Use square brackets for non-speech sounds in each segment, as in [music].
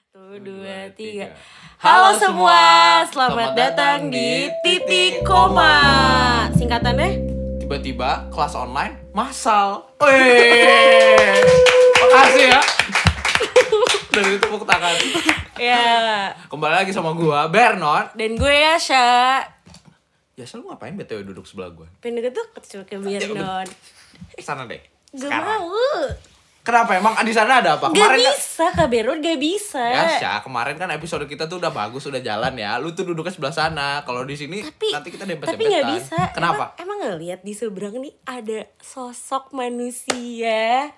Satu, dua, tiga. Halo semua, selamat datang di Titik Koma. Singkatannya? Tiba-tiba kelas online masal. Wih. Makasih ya. Dari itu tepuk tangan. Ya. Kembali lagi sama gua Bernard. Dan gue Yasha. Ya, lu ngapain BTW duduk sebelah gua? Pengen deket tuh ke biar non. Sana deh. Gak mau. Kenapa emang Ah, di sana ada apa? Gak kan- bisa, Kak Beron gak bisa. Yasha, kemarin kan episode kita tuh udah bagus, udah jalan ya. Lu tuh duduknya sebelah sana. Kalau di sini Tapi, nanti kita dempet tapi gak dempetan. bisa. Kenapa? Emang, emang ngeliat di seberang nih ada sosok manusia.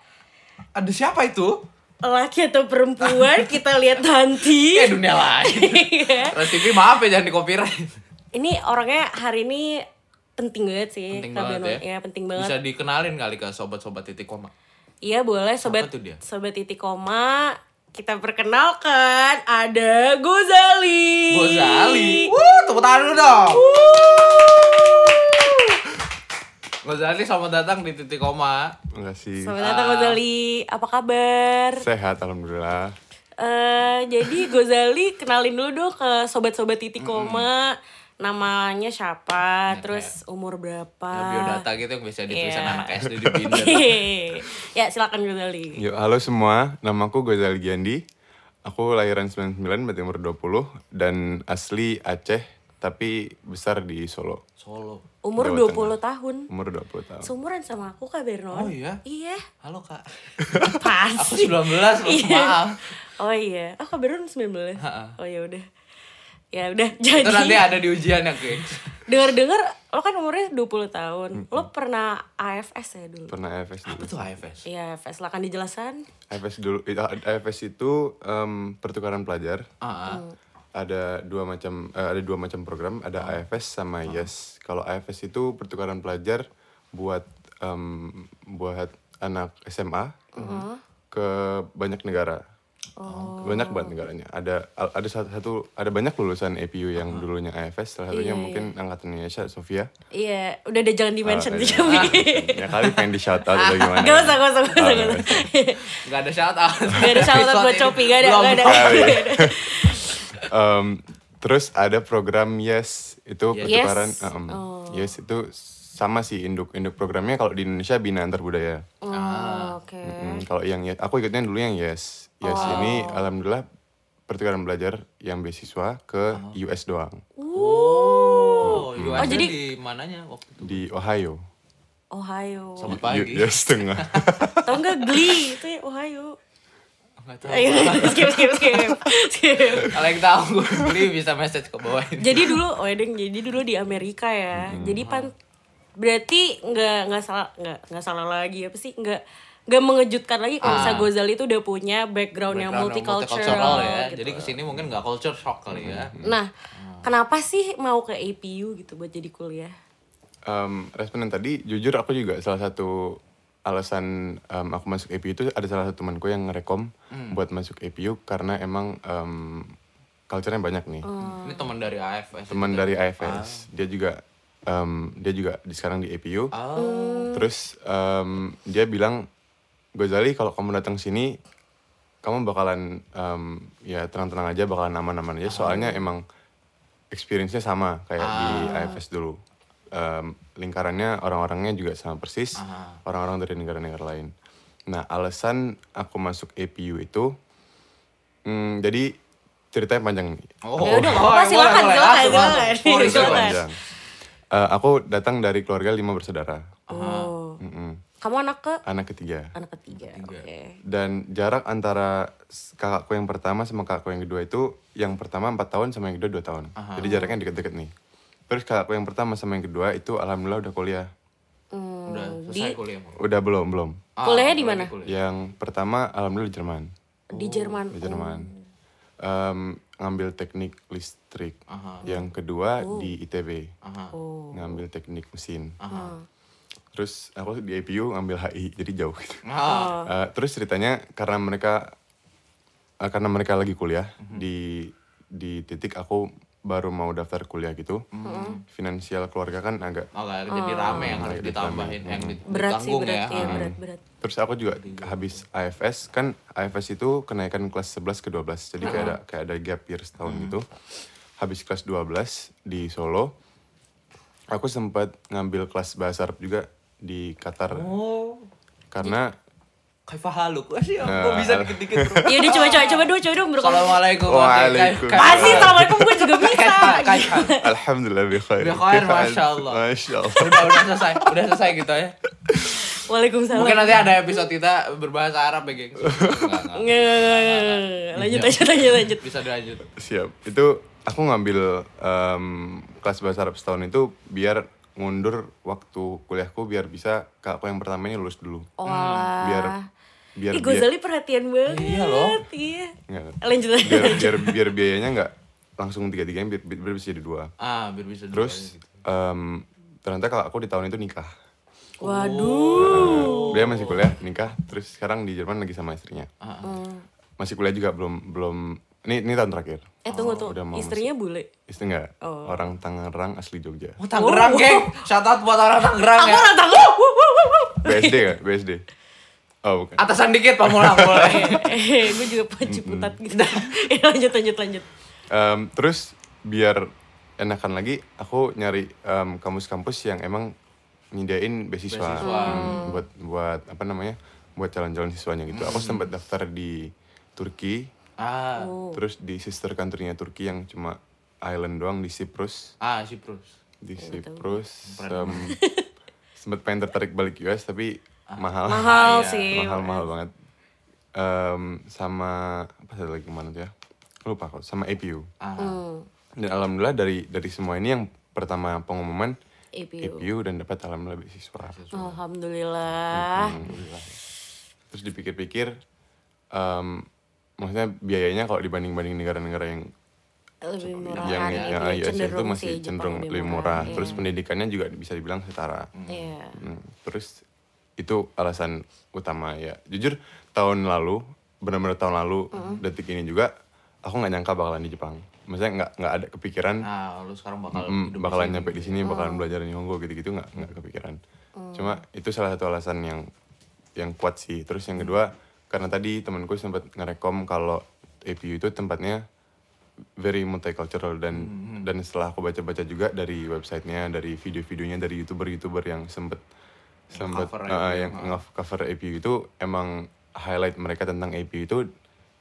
Ada siapa itu? Laki atau [laughs] perempuan, kita lihat nanti. Ya dunia lain. [laughs] Iya. Trans TV maaf ya jangan di copyright. Ini orangnya hari ini penting banget sih. penting Kak banget Beno. ya. Iya, penting banget. Bisa dikenalin kali ke sobat-sobat titik koma. Iya, boleh sobat tuh dia? sobat titik koma kita perkenalkan ada Gozali. Gozali. Wuh, tepuk tangan dulu dong. Gozali selamat datang di titik koma. Terima kasih. Selamat datang Gozali. Apa kabar? Sehat alhamdulillah. Eh, jadi Gozali kenalin dulu dong ke sobat-sobat titik koma. Namanya Iya, siapa? Terus umur berapa? Ada [laughs] Biodata gitu yang biasa ditulisan Ah. Iya. anak SD di [laughs] binder. gitu. ya, silakan Gozali. Iya, Yuk, halo semua. Namaku Gozali Giandi. Aku lahiran 99 berarti umur 20 dan asli Aceh tapi besar di Solo. Solo. Umur Jawa 20 tahun. Umur 20 tahun. Seumuran sama aku Kak Bernon. Oh, iya? Iya. Halo Kak. [laughs] Aku Pasti. Iya. 19, maaf. maaf. Oh iya. Oh Kak Bernon 19. Ha-ha. Oh ya udah. Ya udah [laughs] Itu nanti jadi. ada di ujian ya, Kak. Dengar-dengar lo kan umurnya 20 tahun. Lo pernah AFS ya dulu? Pernah AFS dulu. Apa tuh AFS? Iya, AFS lah kan dijelasan. AFS dulu itu AFS itu em, pertukaran pelajar. Ah, ah. Ada dua macam eh, ada dua macam program, ada AFS sama YES. Kalau AFS itu pertukaran pelajar buat em, buat anak SMA Uh-huh. ke banyak negara. Oh. banyak banget negaranya ada ada satu, satu- ada banyak lulusan APU yang dulunya AFS salah Iya, satunya mungkin angkatan Indonesia [laughs] Sofia Iya, udah deh jangan di-mention iya. di Ah, ya kali pengen di shout out [laughs] Ah, atau gimana Ah, Gak usah, gak usah, gak usah, Ah, gak usah. Gak ada shout out. Gak ada shout out buat Shopee, gak ada, gak [laughs] ada. Belum. Gak ada. Em, terus ada program Yes itu Yes. pertukaran Yes. em, Oh. Yes itu sama sih induk induk programnya kalau di Indonesia bina antar budaya Oh, Oke. Mm, kalau yang Yes- aku ikutnya dulu yang Yes Yes ini alhamdulillah pertukaran belajar yang beasiswa ke US doang Oh, oh jadi- jadi di mananya waktu itu? di Ohio Ohio. Selamat [laughs] U- pagi. US tengah Tau gak Glee? Itu ya Ohio. Nggak tahu. Ayo, Iya, skip, skip, skip. skip. Kalau yang tahu gue beli bisa message ke bawah ini. jadi dulu oh ya, Deng, jadi dulu di Amerika ya jadi pan berarti nggak nggak salah nggak nggak salah lagi apa sih nggak nggak mengejutkan lagi kalau Ah. misalnya Gozali itu udah punya background, yang multicultural, ya. gitu. Jadi kesini mungkin nggak culture shock kali ya. nah kenapa sih mau ke APU gitu buat jadi kuliah Em, responden tadi jujur aku juga salah satu alasan em, aku masuk APU itu ada salah satu temanku yang ngerekom buat masuk APU karena emang em culture-nya banyak nih Ini teman dari AFS. teman dari AFS dia juga em, dia juga di sekarang di APU Oh, terus em, dia bilang Gozali kalau kamu datang sini kamu bakalan em, ya tenang-tenang aja bakalan aman-aman aja soalnya emang experience-nya sama kayak di AFS dulu Em, lingkarannya orang-orangnya juga sama persis orang-orang dari negara-negara lain nah alasan aku masuk APU itu mm, jadi ceritanya panjang nih oh, Ya udah, nggak apa-apa, boleh, silakan, boleh, silakan, langsung, silakan. langsung. Sorry, Silakan. sorry. panjang Iya, Eh, aku datang dari keluarga lima bersaudara oh Mm-mm. kamu anak ke anak ketiga Ah, anak ketiga oke dan jarak antara s- kakakku yang pertama sama kakakku yang kedua itu yang pertama empat tahun sama yang kedua dua tahun jadi jaraknya deket-deket nih terus kakakku yang pertama sama yang kedua itu alhamdulillah udah kuliah Hmm, Udah di selesai kuliah. Bang. udah belum belum Ah, Kuliahnya di lagi mana? kuliah. yang pertama alhamdulillah di Jerman di Jerman Oh, di Jerman Em, ngambil teknik listrik Aha. yang kedua di ITB Aha. Oh. ngambil teknik mesin Aha. terus aku di APU ngambil HI jadi jauh gitu Ah, Eh, terus ceritanya karena Mhm. mereka eh, karena mereka lagi kuliah di di titik aku baru mau daftar kuliah gitu, Hmm. finansial keluarga kan agak Maka jadi rame yang harus ditambahin, yang dit- Oh. berat sih ditanggung berat ya. ya, berat berat Terus aku juga Iya. habis AFS kan AFS itu kenaikan kelas 11 ke 12. Jadi Hmm. kayak ada kayak ada gap year setahun gitu. Habis kelas 12 di Solo aku sempat ngambil kelas bahasa Arab juga di Qatar. Oh, Karena Kaifa haluk. Wah sih, Nah. kok bisa dikit-dikit. bro? ya udah coba coba coba dulu coba dulu berkomentar Assalamualaikum. Waalaikumsalam. pasti Masih assalamualaikum gue [laughs] juga bisa Kaifa. alhamdulillah bi khair. Bi khair, Kaifa Masya ant- Allah. Masya Allah. Udah, udah selesai. Udah selesai gitu ya. waalaikumsalam Mungkin nanti ada episode kita berbahasa Arab ya, geng. Enggak, enggak. Nggak, nggak, nggak, nggak, nggak. lanjut lanjut lanjut lanjut Bisa dilanjut. Siap. Itu aku ngambil em, kelas bahasa Arab setahun itu biar ngundur waktu kuliahku biar bisa kakakku yang pertama ini lulus dulu. Oh, Wah. Biar biar Ih, dia- Gozali perhatian banget. Iya loh. Iya. Nggak. Lanjut lagi. biar biar biar biayanya nggak langsung tiga tiganya biar, biar bisa jadi dua Ah, biar bisa terus em, ternyata kalau aku di tahun itu nikah Waduh. dia masih kuliah nikah terus sekarang di Jerman lagi sama istrinya Ah, Hmm. masih kuliah juga belum belum ini ini tahun terakhir Eh tunggu tuh. Oh, udah mau Istrinya bule. istri nggak Oh. orang Tangerang asli Jogja Oh, Tangerang, geng. Shout out buat orang Tangerang Aku ya. orang tahu. Wuh, wuh, wuh, wuh. BSD nggak BSD oh bukan Atasan dikit, pamulang mulai. [laughs] Eh, gue juga panci putat gitu. [laughs] Ya, lanjut lanjut lanjut. Em, terus biar enakan lagi aku nyari em, kampus-kampus yang emang nyediain beasiswa, Beasiswa. Hmm, buat buat apa namanya buat calon-calon siswanya gitu aku sempat daftar di Turki Ah, Oh. terus di sister country-nya Turki yang cuma island doang di Cyprus ah, Siprus. di Cyprus em, sempet pengen tertarik balik US tapi mahal Mahal iya. sih. mahal mahal banget Em, sama apa satu lagi kemana tuh ya lupa kok sama APU Ah. Oh. dan alhamdulillah dari dari semua ini yang pertama pengumuman EPU. APU dan dapat alhamdulillah beasiswa Alhamdulillah. terus dipikir-pikir em, maksudnya biayanya kalau dibanding-banding negara-negara yang Lebih murah yang hari yang ini IOS ya itu sih, masih Jepang cenderung lebih murah terus pendidikannya juga bisa dibilang setara Iya. Hmm, terus itu alasan utama ya jujur tahun lalu benar-benar tahun lalu detik ini juga aku nggak nyangka bakalan di Jepang maksudnya nggak nggak ada kepikiran Nah, lu sekarang bakal Mm, hidup di bakalan sini. Oh. nyampe di sini bakalan belajar Nihongo gitu-gitu nggak nggak kepikiran cuma itu salah satu alasan yang yang kuat sih terus yang kedua karena tadi temanku sempat ngerekom kalau APU itu tempatnya very multicultural dan Hmm. dan setelah aku baca-baca juga dari websitenya dari video-videonya dari youtuber-youtuber yang sempet sempet cover eh, APU, yang nge- cover APU itu emang highlight mereka tentang APU itu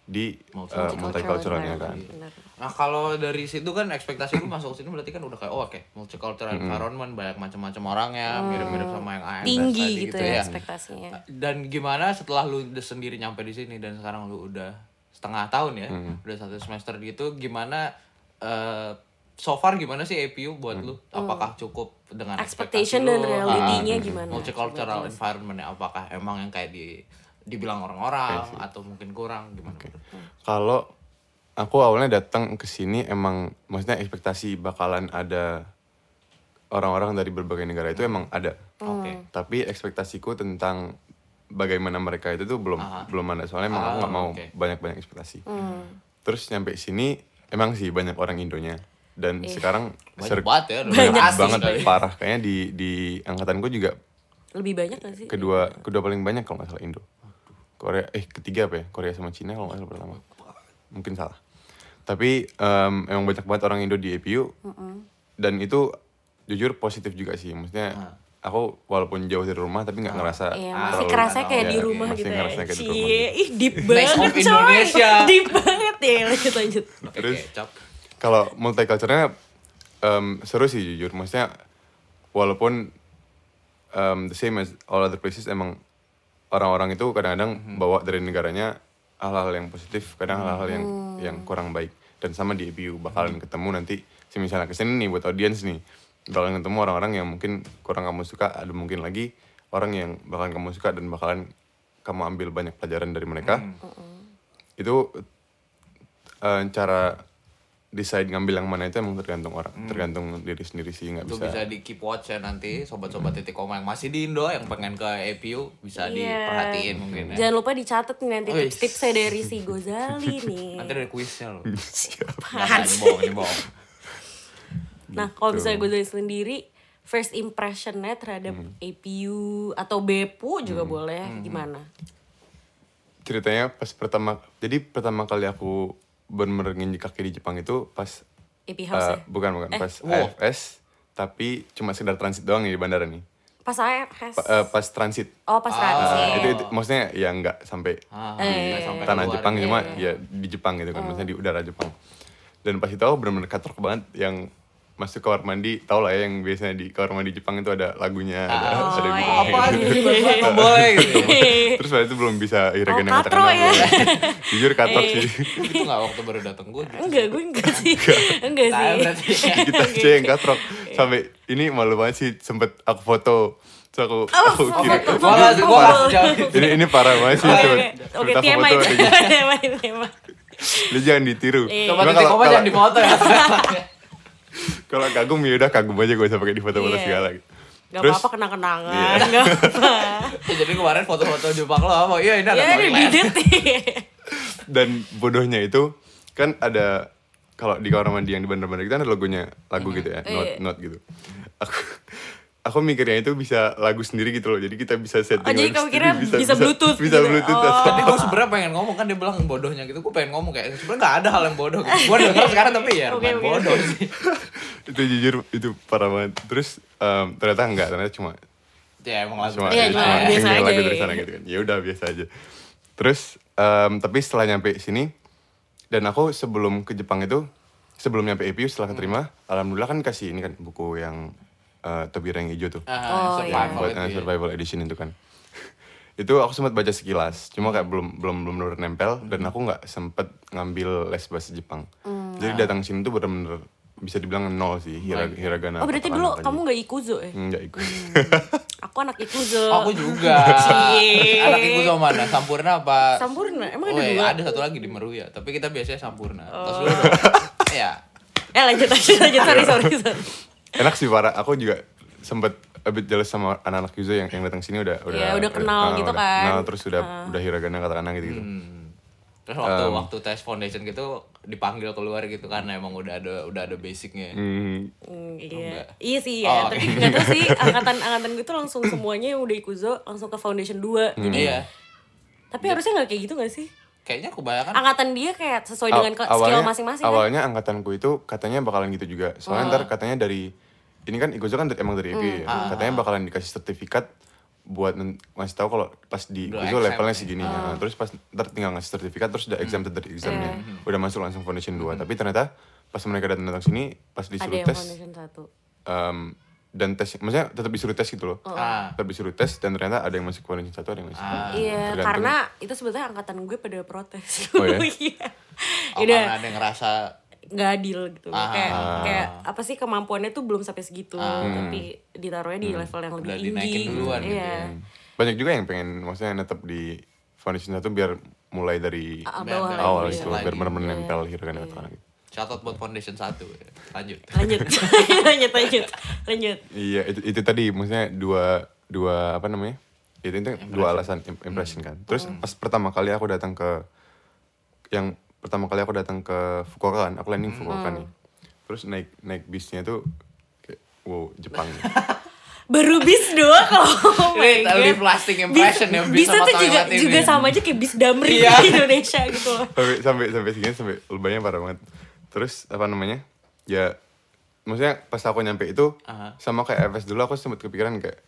di eh, Multicultural multiculturalnya kan environment, benar. Nah, kalau dari situ kan ekspektasi lu masuk sini berarti kan udah kayak oh, oke, multicultural environment, banyak macam-macam orangnya, mirip-mirip sama yang AMS Oh. Tinggi tadi gitu ya ekspektasinya. Dan gimana setelah lu de- sendiri nyampe di sini dan sekarang lu udah setengah tahun ya, udah satu semester gitu, gimana eh, so far gimana sih APU buat lu? Apakah cukup dengan Oh. Expectation ekspektasi dan lu? Oh, realitinya Ah, gimana? Multicultural environment ya, apakah emang yang kayak di dibilang Iya orang-orang atau mungkin kurang gimana? Kalau aku awalnya datang ke sini emang maksudnya ekspektasi bakalan ada orang-orang dari berbagai negara itu emang ada. Hmm. Oke. Tapi ekspektasiku tentang bagaimana mereka itu tuh belum belum ada soalnya emang aku Ah, nggak mau oke. banyak-banyak ekspektasi. Terus nyampe sini emang sih banyak orang Indonya dan sekarang Banyak ser- banget ya, banyak banyak banget sekali. parah kayaknya di di angkatanku juga Lebih banyak gak sih? kedua kedua paling banyak kalau nggak salah Indo Korea eh ketiga apa ya Korea sama Cina kalau nggak salah pertama mungkin salah tapi em, emang banyak banget orang Indo di APU dan itu jujur positif juga sih maksudnya aku walaupun jauh dari rumah tapi nggak ngerasa Iya, masih terlalu- kerasa kayak Iya, di rumah masih gitu ya. ngerasa kayak di rumah gitu. Cie, ih deep Next banget of coy. Indonesia. [laughs] Deep banget ya, lanjut lanjut. Terus kecap. kalau multiculturalnya em, seru sih jujur maksudnya walaupun em, the same as all other places emang orang-orang itu kadang-kadang bawa dari negaranya hal-hal yang positif kadang hal-hal yang yang kurang baik dan sama di EBU bakalan ketemu nanti misalnya kesini nih buat audiens nih bakalan ketemu orang-orang yang mungkin kurang kamu suka ada mungkin lagi orang yang bakalan kamu suka dan bakalan kamu ambil banyak pelajaran dari mereka itu eh, cara decide ngambil yang mana itu emang tergantung orang tergantung diri sendiri sih nggak Itu bisa, bisa di keep watch ya nanti sobat-sobat titik koma yang masih di Indo yang pengen ke APU bisa Iya. diperhatiin mungkin Nah. ya. Jangan lupa dicatat nih nanti Wih. [laughs] tips-tipsnya dari si Gozali nih. Nanti ada kuisnya loh. Siapa Nggak, nggak, ini bohong, ini bohong. Gitu. Nah, kalau misalnya Gozali sendiri first impressionnya terhadap Hmm. APU atau BEPU juga boleh gimana? ceritanya pas pertama jadi pertama kali aku bener-bener nginjek kaki di Jepang itu pas AP eh, House ya? bukan bukan pas wow. AFS tapi cuma sekedar transit doang ya di bandara nih Pas AFS. Pa- eh, pas transit oh, pas Eh, transit. itu, itu maksudnya ya nggak sampai Ah, Eh, nggak iya, sampai tanah keluar. Jepang Iya. cuma ya di Jepang gitu Oh. kan maksudnya di udara Jepang dan pas itu aku bener-bener katrok banget yang masuk kamar mandi tau lah ya yang biasanya di kamar mandi Jepang itu ada lagunya Oh, ada, ada iya. bunyinya. apa [laughs] aja boleh gitu terus waktu itu belum bisa Hiragana Oh, katro katakana, ya. belum. [laughs] jujur katrok Eh. sih [laughs] itu nggak waktu baru datang gue enggak, gue enggak sih. enggak sih. Tahu [laughs] berarti. kita ya, gitu aja yang katrok sampai ini malu banget sih sempet aku foto terus aku aku kirim Oh, foto. gue langsung gue Parah. langsung jawab ini ini parah banget sih Oke, oh, sempet oke. Oke, sempet aku TMI. [laughs] foto lagi. TMI, TMI. lu jangan ditiru Iya. coba Cuma titik kalau- koma kalau- jangan di motor [laughs] ya kalau kagum ya udah kagum aja gue usah pakai di foto-foto Iya. segala gitu. Gak Terus- apa-apa kan? kenang-kenangan, Iya. gak [laughs] apa. Ya, jadi kemarin foto-foto Jepang lo apa iya ini ada Ya, ini toilet didit. dan bodohnya itu kan ada kalau di kamar mandi yang di bandar-bandar kita ada logonya lagu gitu ya Iya. not not gitu aku aku mikirnya itu bisa lagu sendiri gitu loh jadi kita bisa setting Oh, jadi lagu kamu sendiri, kira bisa Bluetooth bisa gitu? bluetooth Oh. tapi gue sebenernya pengen ngomong kan dia bilang bodohnya gitu gue pengen ngomong kayak sebenernya nggak ada hal yang bodoh gitu gue [laughs] denger sekarang tapi ya Oke, main oke. bodoh sih [laughs] itu jujur itu parah banget terus em, ternyata enggak ternyata cuma ya emang langsung cuma Iya, cuma cuma biasa single aja, lagu dari iya. sana gitu kan ya udah biasa aja terus em, tapi setelah nyampe sini dan aku sebelum ke Jepang itu sebelum nyampe Hmm. EPU setelah keterima alhamdulillah kan kasih ini kan buku yang eh, Tobira yang hijau tuh Oh, Ah, iya. yang survival buat uh, itu ya. survival edition itu kan [laughs] itu aku sempat baca sekilas cuma kayak belum belum belum bener nempel Hmm. dan aku nggak sempet ngambil les bahasa Jepang jadi datang sini tuh bener-bener bisa dibilang nol sih hira- Oh, hiragana berarti katakana dulu apa aja. kamu gak ikuzo ya? nggak ikut Aku anak ikuzo. Oh, Aku juga. Cie. Anak ibu sama mana? Sampurna apa? Sampurna? Emang ada Oh, iya, dua? Oh. ada satu lagi di Meruya, tapi kita biasanya Sampurna. Terus lu [laughs] ya. Eh, lanjut, lanjut, Iya. lanjut. Sorry, sorry, sorry. enak sih para aku juga sempet a bit jealous sama anak-anak Yuzo yang yang datang sini udah udah Iya, udah kenal ah, gitu udah kan. kenal, terus udah udah hiragana katakana gitu gitu Terus waktu waktu tes foundation gitu dipanggil keluar gitu kan emang udah ada udah ada basicnya. Hmm, Hmm, Oh, enggak? iya. Iya sih ya, Oh, oke. tapi nggak tahu sih angkatan angkatan gue tuh langsung semuanya yang udah ikuzo langsung ke foundation 2. Hmm. Jadi Iya. tapi Iya. harusnya nggak kayak gitu nggak sih? Kayaknya kebanyakan Angkatan dia kayak sesuai dengan ke- Aw- skill masing-masing kan? awalnya angkatanku itu katanya bakalan gitu juga soalnya ntar katanya dari ini kan Igozo kan dari- emang dari EP Hmm. ya. Ah. katanya bakalan dikasih sertifikat buat men- ngasih tahu kalau pas di Udah Igozo exam levelnya ya. segini Ah. Nah, terus pas ntar tinggal ngasih sertifikat terus udah exam dari Iya. examnya udah masuk langsung foundation 2 tapi ternyata pas mereka datang datang sini pas Hmm. Ada disuruh yang tes foundation 1. em, dan tes maksudnya tetap disuruh tes gitu loh Oh. ah, tetap disuruh tes dan ternyata ada yang masuk foundation satu ada yang masuk Ah. Iya, Tergantung. karena itu sebetulnya angkatan gue pada protes. Oh, ya? [laughs] iya. oh, Udah karena ada yang ngerasa nggak adil gitu. Ah. Hmm. Kayak kayak apa sih kemampuannya tuh belum sampai segitu, tapi ditaruhnya di level yang lebih Udah tinggi. dinaikin duluan gitu iya. banyak juga yang pengen maksudnya netap di foundation satu biar mulai dari Ah, bawah Biar- lagi, awal iya. gitu lagi. biar benar-benar nempel gitu kan kata gitu. catat buat foundation satu. ya. Lanjut. Lanjut. [laughs] lanjut, lanjut. Lanjut. Iya itu, itu tadi maksudnya dua dua apa namanya? Itu, itu dua alasan im- impression kan. Terus Hmm. pas pertama kali aku datang ke yang pertama kali aku datang ke Fukuoka kan, aku landing Hmm. Fukuoka nih. Terus naik naik bisnya tuh kayak wow Jepang. nih. baru bis doang [laughs] oh my [laughs] Ini god live lasting impression bis, ya, bis bis sama tuh juga toilet ini. juga sama aja kayak bis damri Iya. di Indonesia gitu [laughs] loh sampai sampai sampai segini sampai lebaynya parah banget terus apa namanya ya maksudnya pas aku nyampe itu Aha. sama kayak FS dulu aku sempat kepikiran kayak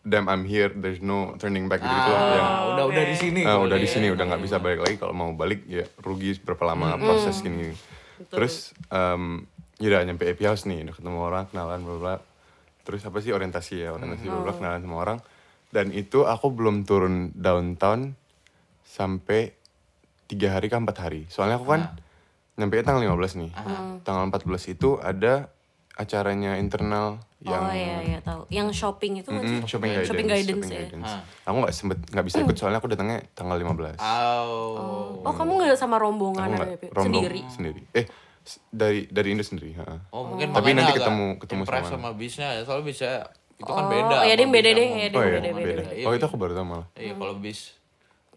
damn I'm here there's no turning back gitu gitu Ah, yang Oh, udah udah di sini. "Ah, udah di sini udah nggak bisa balik lagi kalau mau balik ya rugi berapa lama proses gini, gini. terus em ya udah nyampe AP House nih udah ketemu orang kenalan bla bla terus apa sih orientasi ya orientasi bla bla kenalan sama orang dan itu aku belum turun downtown sampai tiga hari ke empat hari soalnya aku kan nyampe tanggal 15 nih Mm. tanggal 14 itu ada acaranya internal yang oh iya iya tahu yang shopping itu Mm-mm, masih shopping guidance, shopping guidance, ya Mm. Ah. Aku nggak sempet nggak bisa ikut soalnya aku datangnya tanggal 15. Oh. oh kamu nggak sama rombongan aku nggak apa ya? rombong sendiri sendiri. Eh s- dari dari Indo sendiri. ha. Oh mungkin Tapi makanya nanti agak ketemu ketemu impress sama. sama bisnya ya, soalnya bisa itu kan Oh, beda. iya, sama dia beda bis deh, yang- iya, dia Oh iya beda, beda. beda. Oh itu aku baru tahu malah. Iya, kalau bis.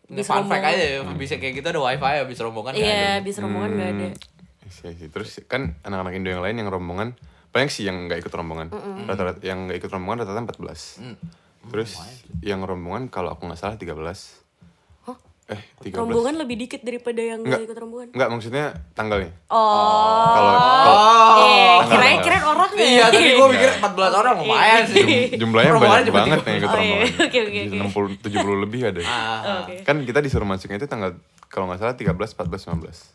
Bis Bis fun fact rombongan. aja ya, bisa kayak gitu ada wifi ya bis rombongan nggak iya bis Iya, rombongan nggak ada Iya sih. Terus kan anak-anak Indo yang lain yang rombongan banyak sih yang nggak ikut rombongan. Rata-rata yang nggak ikut rombongan rata-rata 14. Mm. Terus yang rombongan kalau aku nggak salah 13. Hah? Eh, 13. Rombongan lebih dikit daripada yang nggak ikut rombongan. Enggak, maksudnya tanggalnya. Oh. Kalau [laughs] kalau Eh, Tanggal. kirain kirain orang ya. gitu. Oh, Iya, tadi gue mikir 14 orang lumayan Iya. sih. jumlahnya Rombongan banyak cuma banget yang Oh, ikut iya. rombongan. Oke, oke, oke. 60 70 lebih ada. Ah, [laughs] Oke. Kan kita disuruh masuknya itu tanggal kalau nggak salah 13, 14, 15.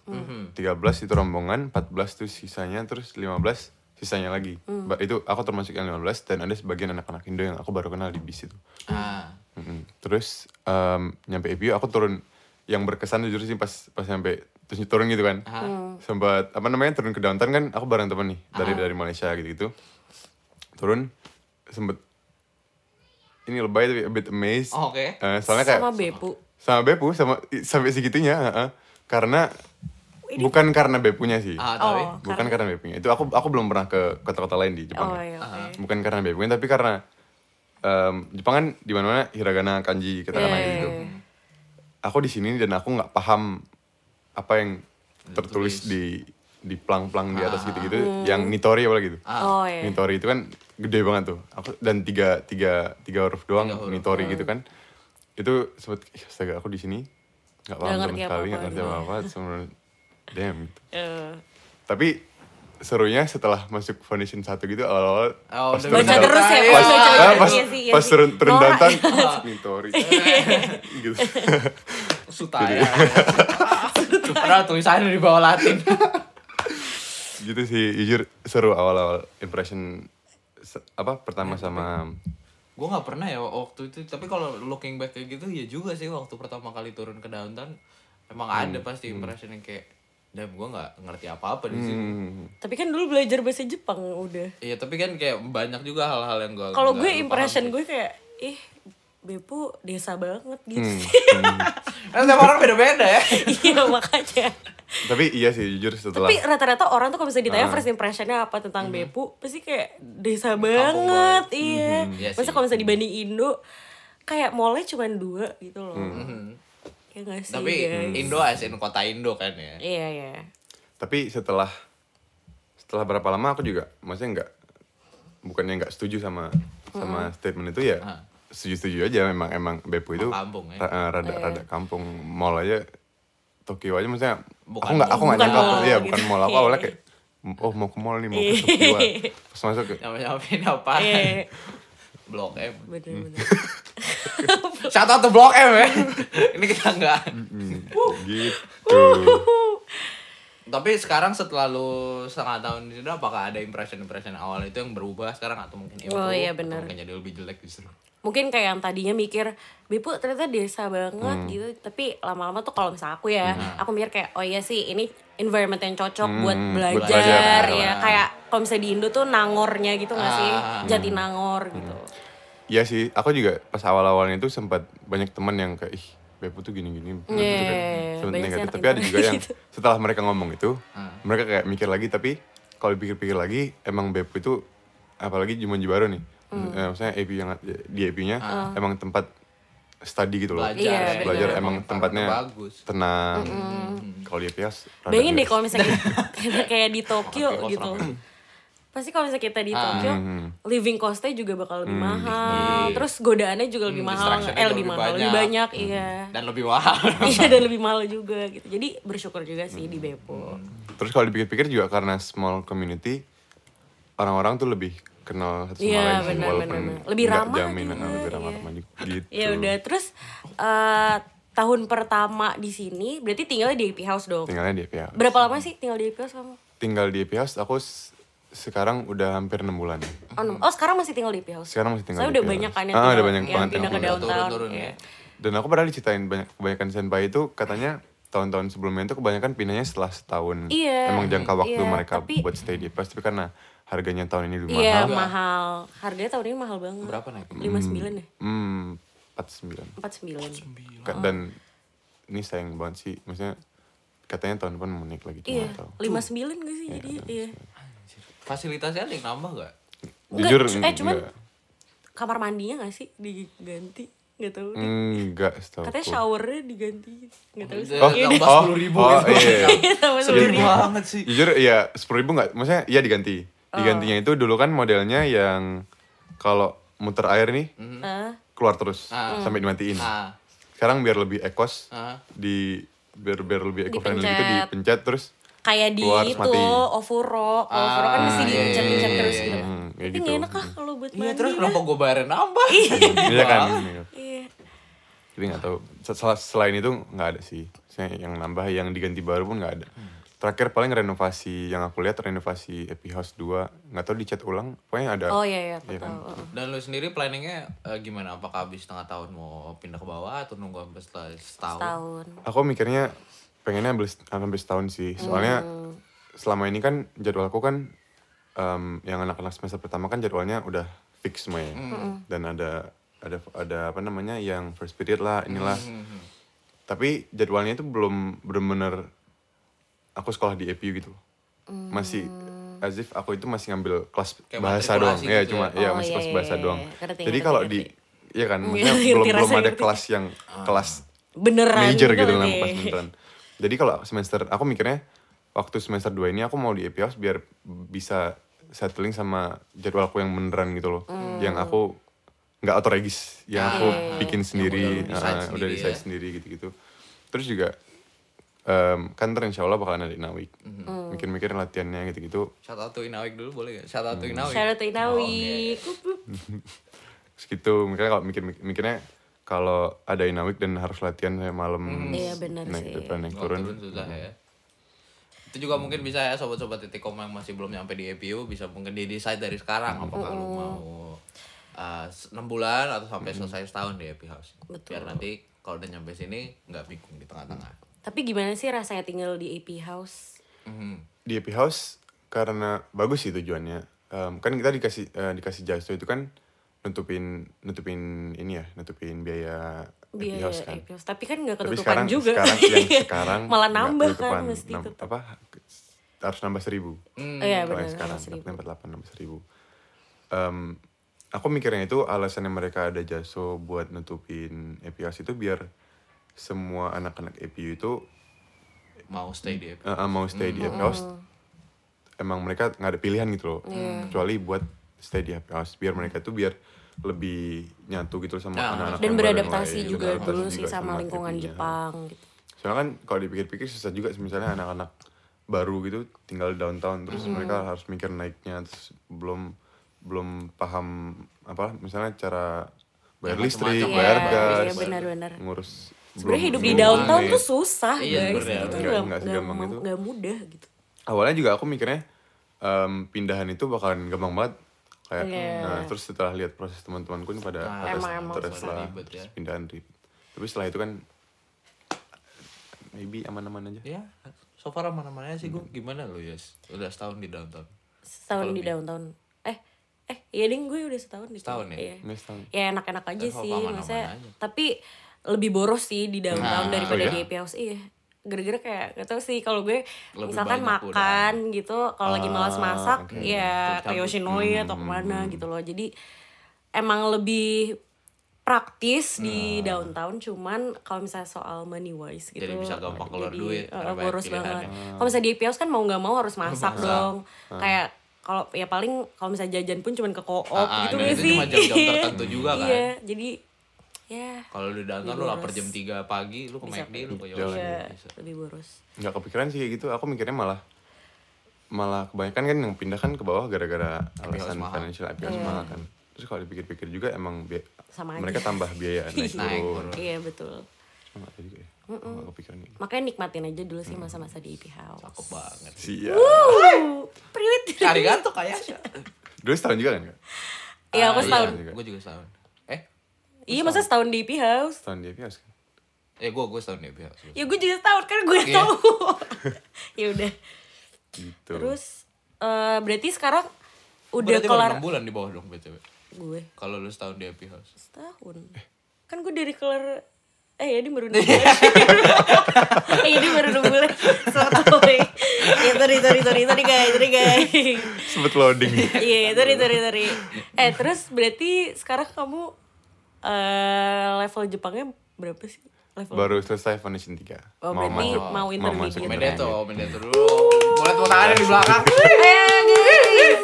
13 itu rombongan, 14 itu sisanya, terus 15 sisanya lagi. Ba- Itu aku termasuk yang 15 dan ada sebagian anak-anak Indo yang aku baru kenal di bis itu. ah. Mm-mm. Terus em, nyampe EPU aku turun yang berkesan jujur sih pas pas nyampe terus turun gitu kan. Ah. Sempat apa namanya turun ke downtown kan aku bareng temen nih dari dari Malaysia gitu-gitu. Turun sempet ini lebay tapi a bit amazed. Oh, oke. Eh, soalnya kayak sama Bepu. sama Bepu sama i- sampai segitunya, heeh. Karena Ini- bukan karena Bepunya sih. Ah, Oh, tapi bukan karena Bepunya. Itu aku aku belum pernah ke kota-kota lain di Jepang. Oh, ya iya, oke. bukan karena Bebuin tapi karena em, Jepang kan di mana-mana hiragana, kanji, katakana Iya, gitu. iya, iya. Aku di sini dan aku nggak paham apa yang tertulis Tertulis. di di plang-plang di atas gitu-gitu ah, yang nitori apa gitu. Oh iya. Nitori itu kan gede banget tuh. Aku dan tiga tiga tiga huruf doang Tiga huruf. Ah. nitori gitu kan. Itu sempat "Ih, astaga aku di sini nggak paham Nggak sama ngerti sekali, nggak apa-apa ngerti gitu. apa-apa. Sebenarnya damn. gitu. Eh, Tapi serunya setelah masuk foundation satu gitu awal-awal Oh, udah pas turun baca Bener. ke- terus ya, Iya. Bang, baca Ah, terus. pas, Iya sih, iya pas sih. turun turun Norak. [laughs] downtown nih Tori [laughs] gitu [laughs] suta [laughs] ya. Padahal tulisannya di bawah [laughs] Latin. gitu sih jujur seru awal awal impression se- apa pertama Iya, sama gue nggak pernah ya waktu itu tapi kalau looking back kayak gitu ya juga sih waktu pertama kali turun ke downtown emang ada pasti impression yang kayak dan gue nggak ngerti apa apa di sini hmm, Tapi kan dulu belajar bahasa Jepang udah. iya tapi kan kayak banyak juga hal-hal yang gue Kalau gue impression gue kayak ih Bepu desa banget gitu. kan tiap orang beda-beda ya [laughs] Iya makanya. tapi iya sih jujur setelah Tapi rata-rata orang tuh kalau misalnya Ah. ditanya first impressionnya apa tentang Mm-hmm. Bepu, pasti kayak desa banget, iya. Iya Masa sih. kalau misalnya dibanding Indo, kayak mallnya cuma dua gitu loh. Ya nggak sih Mm-hmm. tapi mm. guys? Indo as in kota Indo kan ya Iya, [laughs] iya. tapi setelah setelah berapa lama aku juga maksudnya nggak bukannya nggak setuju sama sama statement itu ya Ah. setuju setuju aja memang emang Beppu itu kampung ya. ra- eh, rada rada kampung mall aja Tokyo aja maksudnya Bukan aku nggak aku nggak bukan nyangka mall iya gitu. bukan mall aku awalnya kayak oh mau ke mall nih mau ke Tokyo pas Iya. masuk ke nyampe-nyampein apa Eh, Blok M bener-bener. shout out to Blok M ya [laughs] ini kita nggak gitu tapi sekarang setelah lu setengah tahun di situ apakah ada impression impression awal itu yang berubah sekarang atau mungkin improve Oh, iya, atau benar. mungkin jadi lebih jelek justru mungkin kayak yang tadinya mikir Bipu ternyata desa banget Mm. gitu tapi lama-lama tuh kalau misalnya aku ya aku mikir kayak oh iya sih ini environment yang cocok Mm. buat belajar, belajar. ya kayak kalau misalnya di Indo tuh nangornya gitu nggak sih Ah. Mm. jati nangor gitu Iya sih, aku juga pas awal-awalnya itu sempat banyak teman yang kayak ih Bepu tuh gini-gini gitu kan. Yeah, Sempat Iya, banyak sih negatif, anak tapi ada Indo juga yang gitu. [laughs] setelah mereka ngomong itu, Hmm. mereka kayak mikir lagi tapi kalau dipikir-pikir lagi emang Bepu itu apalagi Jumanji baru nih. Hmm. Eh, maksudnya AP yang di AP-nya emang tempat study gitu loh. Ah. belajar Iya, ya. Belajar benar. emang tempatnya bagus tenang. Kalau di AP ya rada bayangin deh bias. kalau [laughs] misalnya kita- kayak di Tokyo Oke, lo gitu serem. pasti kalau misalnya kita di Ah. Tokyo Hmm, living costnya juga bakal lebih mahal terus godaannya juga lebih Hmm, mahal eh distraction-nya juga lebih lebih mahal lebih banyak banyak. iya dan lebih mahal Hmm. iya dan lebih mahal juga gitu jadi bersyukur juga sih di Bepo hmm, Terus kalau dipikir-pikir juga karena small community orang-orang tuh lebih kenal satu sama Iya, lain sih benar, walaupun benar, benar. Lebih nggak ramah jaminan juga, lebih iya. ramah ramah juga gitu. Ya udah, terus eh, tahun pertama di sini berarti tinggalnya di IP House dong. Tinggalnya di EP House. Berapa lama sih tinggal di IP House kamu? Tinggal di EP House aku s- sekarang udah hampir 6 bulan. ya. Oh, enam. oh sekarang masih tinggal di IP House. Hmm. Sekarang masih tinggal Saya di udah EP banyak House. kan yang, Ah, tinggal- udah banyak yang banget yang pindah ke pindah. downtown. Turun-turun ya. ya. Dan aku pernah diceritain banyak kebanyakan senpai itu katanya tahun-tahun sebelumnya itu kebanyakan pindahnya setelah setahun. Iya, Emang jangka waktu iya, mereka tapi- buat stay di EP House tapi karena harganya tahun ini lebih Iya mahal. mahal. Harganya tahun ini mahal banget. Berapa naik? Lima sembilan ya. Hmm, 49. Empat sembilan. Iya. Ka- dan ini sayang banget sih maksudnya katanya tahun depan mau naik lagi cuma Iya. nggak tahu Lima sembilan gak sih jadi? Iya. Anjir. fasilitasnya ada yang nambah gak? Enggak, jujur cu- eh cuman enggak. kamar mandinya gak sih diganti? nggak tahu Hmm, deh. Enggak, setahu katanya showernya diganti nggak tahu sih Oh, Iya deh. tambah Oh, 10 ribu Iya. oh, gitu. [laughs] iya. Sama Sedih sendiri. banget sih. Jujur ya sepuluh ribu nggak, maksudnya iya diganti. Oh. Digantinya itu dulu kan modelnya yang kalau muter air nih Hah? keluar terus Hmm. Ah. sampai dimatiin. Nah, Sekarang biar lebih ekos, ah. di biar biar lebih eco friendly gitu Dipencet. dipencet terus. kayak di Keluar, itu mati. ovuro kalau ovuro kan Ah, mesti iya, iya, diinjak-injak iya, terus iya, gitu iya. Hmm, kayak tapi gitu. nggak enak lah kalau buat mandi Iya terus lah. kenapa gue bayarin nambah? Iya [laughs] kan. iya Tapi nggak tahu. Sel- Selain itu nggak ada sih. Saya yang nambah yang diganti baru pun nggak ada. Terakhir paling renovasi yang aku lihat renovasi Happy House 2 nggak tahu dicat ulang. Pokoknya ada. oh iya iya aku Iya kan. tahu heeh. Dan lu sendiri planningnya eh, gimana? Apakah habis setengah tahun mau pindah ke bawah atau nunggu sampai setelah setahun? tahun Aku mikirnya pengennya ambil set- sampai setahun sih. Soalnya Hmm. selama ini kan jadwalku kan em, yang anak-anak semester pertama kan jadwalnya udah fix semuanya. Hmm. Hmm. Dan ada ada ada apa namanya yang first period lah inilah. Hmm, Tapi jadwalnya itu belum bener-bener aku sekolah di APU gitu loh. Masih Hmm. as if aku itu masih ngambil kelas Kayak bahasa doang. matrikulasi Iya, gitu cuma ya? ya Oh, masih iya, kelas iya, bahasa iya, doang. iya. Ngerti, Jadi ngerti, kalau ngerti. di Iya [laughs] kan, Iya, maksudnya ngerti, belum belum rasanya ada ngerti. kelas yang Ah. kelas beneran major gitu gitu loh dalam deh. kelas beneran. Jadi kalau semester aku mikirnya waktu semester 2 ini aku mau di EPI House biar bisa settling sama jadwalku yang beneran gitu loh. Yang aku nggak autoregis, yang aku Oke. bikin sendiri, udah lu desain ah, sendiri udah desain ya. sendiri gitu-gitu. Terus juga em, kan ntar insya Allah bakalan ada inawik. Mikir-mikir latihannya gitu-gitu. Shout out to Inawik dulu boleh gak? Shout out to Inawik. Shout out to Oh, Inawi. Kup, kup. Terus gitu, mikirnya kalau mikir mikirnya kalau ada inawik dan harus latihan kayak malam Iya, benar naik sih. depan, naik Oh, turun. turun susah ya. Itu juga mungkin bisa ya sobat-sobat Titikom yang masih belum nyampe di EPU bisa mungkin di decide dari sekarang apakah lu mau uh, 6 bulan atau sampai selesai setahun di EPU House. Biar nanti kalau udah nyampe sini nggak bingung di tengah-tengah. tapi gimana sih rasanya tinggal di AP House Mhm. di EP House karena bagus sih tujuannya. Em, kan kita dikasih eh, dikasih jasto itu kan nutupin nutupin ini ya, nutupin biaya EP biaya House kan. AP House tapi kan nggak Tapi ketutupan sekarang juga [laughs] Iya. sekarang yang sekarang malah nggak nambah ketutupan. Iya, kan mesti Nam- tetap apa harus nambah seribu iya kalau benar yang sekarang seribu. empat delapan enam seribu Em, aku mikirnya itu alasannya mereka ada jaso buat nutupin EPU House itu biar semua anak-anak EPU itu Mau stay di EPU. eh, eh, mau stay di Hmm. happy house Oh. emang mereka nggak ada pilihan gitu loh Iya. Hmm. kecuali buat stay di happy house biar mereka tuh biar lebih nyatu gitu loh sama Nah, dan anak-anak yang baru yang beradaptasi lain. juga iya, Beradaptasi dulu sih juga sama lingkungan happy-nya. Jepang gitu soalnya kan kalau dipikir-pikir susah juga misalnya anak-anak baru gitu tinggal di downtown terus Hmm. mereka harus mikir naiknya terus belum belum paham apa misalnya cara bayar Ya, listrik macam-macam. bayar Iya, gas iya, benar-benar. ngurus sebenarnya belum- hidup di belum downtown manage. tuh susah Iya, guys gitu. bener. itu Nggak- nggak nggak nggak segampang itu. nggak mudah gitu awalnya juga aku mikirnya em, pindahan itu bakalan gampang banget kayak Iya. nah terus setelah lihat proses teman-temanku ini pada Nah, atas emang- emang terus susah. lah Ribet ya. terus pindahan ribet tapi setelah itu kan maybe aman-aman aja Ya, so far aman-aman aja sih gue. Gimana lu, Yes? Udah setahun di downtown. setahun di downtown eh eh iya ding gue udah setahun di Setahun ya? iya. Next time. ya enak-enak aja Tapi sih aman-aman maksudnya aja. tapi lebih boros sih di downtown Nah, daripada oh iya? di EP House iya gara-gara kayak gak tau sih kalau gue Lebih misalkan banyak Ah, makan gitu kalau lagi malas masak oke. ya ke Cabut-cabut. Yoshinoya Hmm, atau kemana gitu loh jadi emang lebih praktis di downtown cuman kalau misalnya soal money wise gitu Nah. Jadi bisa gampang keluar eh, duit, karena banyak boros pilihan banget ya. kalau misalnya di EP House kan mau nggak mau harus masak dong Hmm. kayak kalau ya paling kalau misalnya jajan pun cuman ke koop Ah, ah, gitu dan gak itu sih cuma [laughs] jam-jam Iya. tertentu juga kan. iya jadi ya Kalau di downtown lu lapar jam 3 pagi, lu ke McD, lu ke Yogyakarta. iya bisa. lebih boros nggak kepikiran sih kayak gitu aku mikirnya malah malah kebanyakan kan yang pindah kan ke bawah gara-gara alasan mahal. financial IPS mahal kan terus kalau dipikir-pikir juga emang bi- Iya. Sama mereka aja. tambah [laughs] biaya Naik naik turun turun. iya betul Nggak jadi kayak- nggak kepikiran kayak gitu. makanya nikmatin aja dulu Hmm. sih masa-masa di IP House Uh, Cakep banget. kan? Siap. Wuh, priwit Arigato kayak Dulu setahun juga kan Kak? [laughs] Iya, aku setahun. juga. Gue Ah, juga setahun. Eh, Iya, masa setahun di IP House? Setahun di IPS kan? eh gue gue setahun ya biar. Ya gue juga setahun, kan gue Iya. tahu. [laughs] ya udah. Gitu. Terus eh berarti sekarang udah Berarti kelar baru 6 bulan di bawah dong BTW. gue Kalau lu setahun di Happy House. setahun. Kan gue dari kelar eh ya ini [laughs] baru 6 bulan. eh ini baru 6 bulan. Selamat [laughs] sore. Ya sorry sorry sorry sorry guys, sorry guys. Sempet loading. Iya, sorry sorry sorry. Eh terus berarti sekarang kamu eh, level Jepangnya berapa sih? Level Baru selesai Foundation 3. Oh, berarti mau gitu. intermediate. Medeto, Medeto dulu. Boleh tepuk tangan di belakang. [laughs] Eh, guys.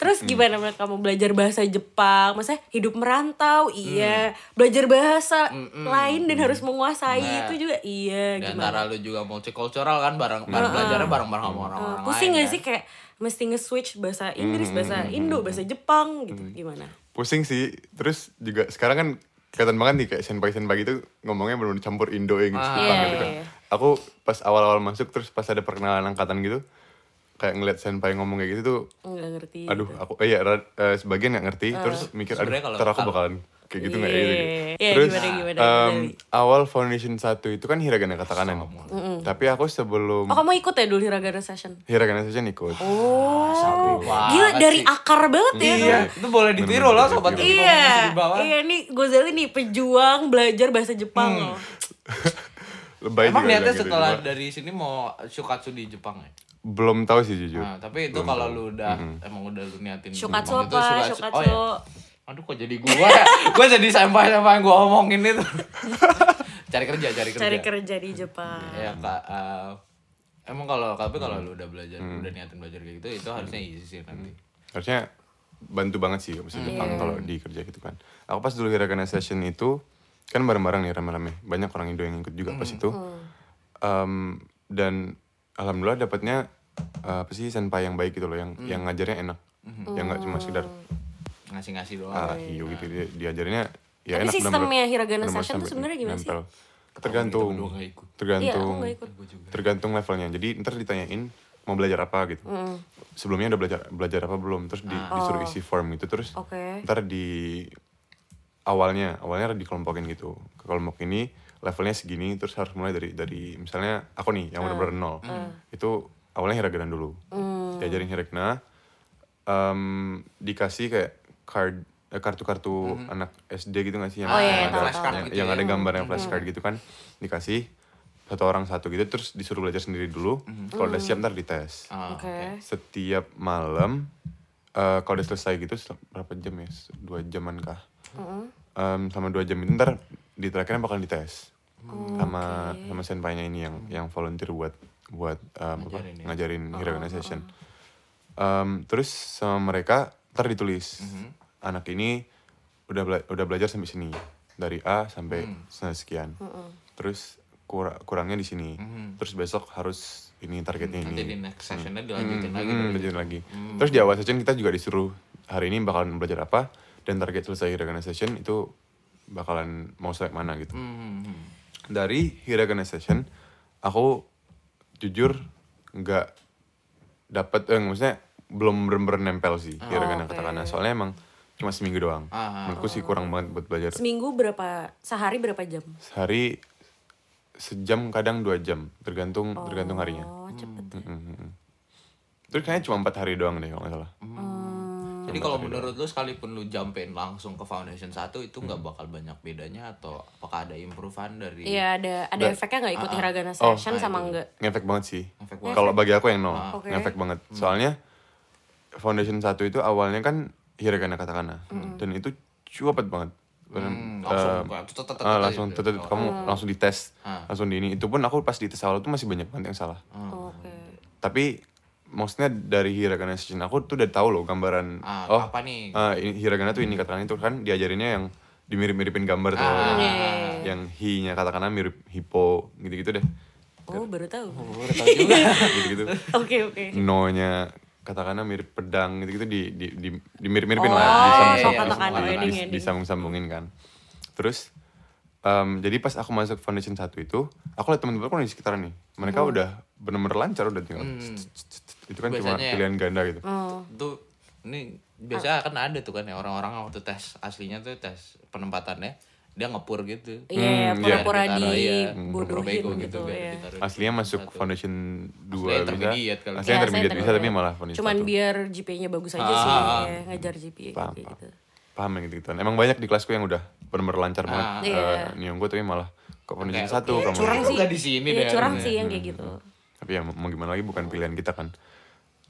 Terus gimana menurut kamu belajar bahasa Jepang? Maksudnya hidup merantau, Hmm. iya. Belajar bahasa lain dan harus menguasai Nah. itu juga, iya. Di Gimana? antara lu juga multicultural kan bareng bareng belajarnya bareng-bareng sama orang-orang Oh, Eh, lain. Hmm, Pusing gak kan. sih kayak mesti nge-switch bahasa Inggris, bahasa hmm, Indo, bahasa Jepang gitu? Gimana? Pusing sih. Terus juga sekarang kan kelihatan banget nih kayak senpai-senpai gitu ngomongnya benar campur Indo Inggris Ah. Jepang Iya, gitu kan. iya, iya. Aku pas awal-awal masuk terus pas ada perkenalan angkatan gitu kayak ngeliat senpai ngomong kayak gitu tuh Nggak ngerti. aduh aku eh, iya ra- eh, sebagian nggak ngerti terus mikir aduh Sebenarnya kalau- ntar aku kalau- bakalan kayak gitu nggak ya gitu, gitu. Ah. Iya, iya, terus gimana, gimana, em, Dali? awal foundation satu itu kan hiragana katakana tapi aku sebelum Oh kamu ikut ya dulu Hiragana Session? hiragana saja ikut Oh, banget gila dari sih. akar banget ya. Iya, itu boleh ditiru loh sobat Bener-bener Ibu. Iya, Di bawah. iya nih Gozali nih pejuang belajar bahasa Jepang loh. lebay Emang juga niatnya bilang gitu, setelah cuma dari sini mau shukatsu di Jepang ya? belum tahu sih jujur Nah, tapi itu kalau lu udah emang udah lu niatin Shukatsu Jepang itu, apa? shukatsu- Shukatsu. oh, iya. Aduh kok jadi gua ya? [laughs] gua jadi sampah-sampah yang gua omongin itu. [laughs] cari kerja, cari kerja. Cari kerja di Jepang. Ya Kak, eh, emang kalau tapi Hmm. kalau lu udah belajar, udah niatin belajar kayak gitu, itu harusnya easy sih nanti. Hmm. harusnya bantu banget sih bahasa Jepang kalau di kerja gitu kan aku pas dulu hiragana session itu kan bareng-bareng nih rame-rame banyak orang Indo yang ikut juga pas itu Em, dan alhamdulillah dapatnya eh, apa sih senpai yang baik gitu loh yang Hmm. yang ngajarnya enak yang nggak cuma sekedar Ngasih-ngasih doang. ah hiu gitu dia, diajarinnya ya Iya. Tapi enak sistemnya Hiragana bener-bener Session tuh sampai sebenarnya gimana sih? nempel. tergantung Kita berdua gitu, nggak Iya, ikut. aku tergantung nggak ikut. Gua juga. tergantung levelnya jadi ntar ditanyain mau belajar apa gitu Mm. sebelumnya udah belajar belajar apa belum terus di- disuruh isi form gitu terus Ah. Oh. Oke. ntar di awalnya awalnya dikelompokin gitu ke kelompok ini levelnya segini terus harus mulai dari dari misalnya aku nih yang benar-benar nol Hmm. itu awalnya hiragana dulu diajarin hiragana em, dikasih kayak card eh, kartu-kartu anak SD gitu gak sih yang Oh, iya, yang iya, tahu, ada flashcard yang, gitu yang ya. ada gambarnya flashcard gitu kan dikasih satu orang satu gitu terus disuruh belajar sendiri dulu kalau udah siap ntar dites Ah, Oke. setiap malam eh kalau udah selesai gitu sel- berapa jam ya Se- dua jaman kah Em, sama dua jam itu ntar di terakhirnya bakal dites sama sama senpainya ini yang yang volunteer buat buat em, apa, Ngajarin ya. ngajarin hiragana session Em, terus sama mereka ntar ditulis Mm-hmm. anak ini udah bela- udah belajar sampai sini dari A sampai Mm. sekian terus kur- kurangnya di sini terus besok harus ini targetnya ini Mm-hmm. Nanti di next sessionnya dilanjutin lagi. Hmm, belajar lagi. Terus di awal session kita juga disuruh hari ini bakalan belajar apa dan target selesai hiragana session itu bakalan mau select mana gitu. Hmm, hmm. Dari hiragana session aku jujur nggak dapat eh maksudnya belum bener-bener nempel sih hiragana oke. katakana soalnya emang cuma seminggu doang. Ah, ah, Menurutku sih kurang banget buat belajar. Seminggu berapa? Sehari berapa jam? Sehari sejam kadang dua jam tergantung tergantung harinya. Oh cepet. Terus kayaknya cuma empat hari doang deh kalau nggak salah. Jadi kalau menurut lu sekalipun lu jumpin langsung ke foundation 1 itu Hmm. nggak bakal banyak bedanya atau apakah ada improvean dari Iya ada ada efeknya nggak ikut Hiragana Oh, Session sama nggak? ngefek banget sih. Ngefek banget. Ah. Hmm. Kalau bagi aku yang nol, Oke. ngefek banget. Soalnya foundation satu itu awalnya kan hiragana katakana dan itu cuapet banget. Hmm, langsung Eh, buka, tetet, tetet ah, aja langsung gitu. tetet, kamu langsung dites, Ah. Hmm. langsung di ini. Itu pun aku pas dites awal tuh masih banyak banget yang salah. Oke. Tapi maksudnya dari hiragana session aku tuh udah tahu loh gambaran Ah, oh apa nih? ah, ini hiragana tuh ini katakana itu kan diajarinnya yang dimirip-miripin gambar tuh. Ah. Yang- Yang hi-nya katakana mirip hippo gitu-gitu deh. Oh baru tahu. Gua udah tahu juga. Gitu-gitu. [laughs] Oke oke. Hmm. no-nya katakanlah mirip pedang gitu-gitu di di di, mirip-miripin Oh, lah so disambung- katakan di- wedding, di- wedding. disambung-sambungin kan terus em, jadi pas aku masuk foundation satu itu aku lihat teman-temanku di sekitar nih mereka udah bener-bener lancar udah tinggal itu Hmm. kan cuma Biasanya ya. pilihan ganda gitu tuh ini biasa kan ada tuh kan ya orang-orang yang waktu tes aslinya tuh tes penempatannya dia ngepur gitu. Iya Hmm, pura-pura Biar ditaruh, iya, pura-pura dibodohin bego gitu biar ya. ditaruh di aslinya masuk satu. foundation Aslinya dua bisa intermediate kali. Iya, aslinya intermediate saya bisa tapi malah terlibat. foundation Cuman satu biar GPA-nya bagus aja sih, ya, ngajar GPA paham kayak paham gitu. paham yang gitu gituan emang banyak di kelasku yang udah bener-bener lancar banget Ah. Iya. eh, Nyonggo tapi malah ke foundation Kayak, satu oke, kamu curang gitu. sih. nggak di sini Iya, deh, curang harusnya. sih yang kayak gitu. tapi ya mau gimana lagi bukan pilihan kita kan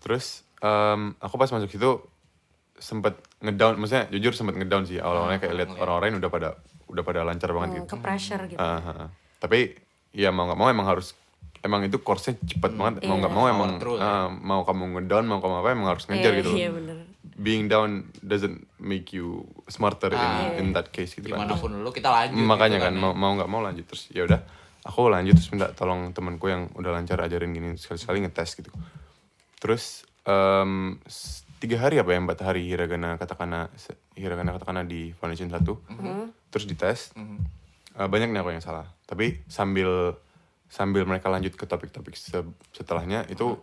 terus em, aku pas masuk situ sempet ngedown, maksudnya jujur sempet ngedown sih Ah, awal-awalnya kayak lihat orang-orang yang udah pada udah pada lancar banget gitu. ke pressure gitu Ah, ah, ah. Tapi ya mau nggak mau emang harus emang itu course-nya cepet Hmm, banget mau iya, nggak mau emang Power through, ah, mau kamu ngedown mau kamu apa emang harus ngejar Iya, gitu. iya bener Being down doesn't make you smarter Ah, iya, in, in that case gitu kan. gimana pun dulu kita lanjut makanya gitu kan mau mau nggak mau lanjut terus ya udah aku lanjut terus minta tolong temanku yang udah lancar ajarin gini sekali-sekali ngetes gitu terus em, s- tiga hari apa ya empat hari hiragana katakana se- hiragana katakana di foundation satu Mhm. terus dites Eh, banyak nih aku yang salah tapi sambil sambil mereka lanjut ke topik-topik se- setelahnya itu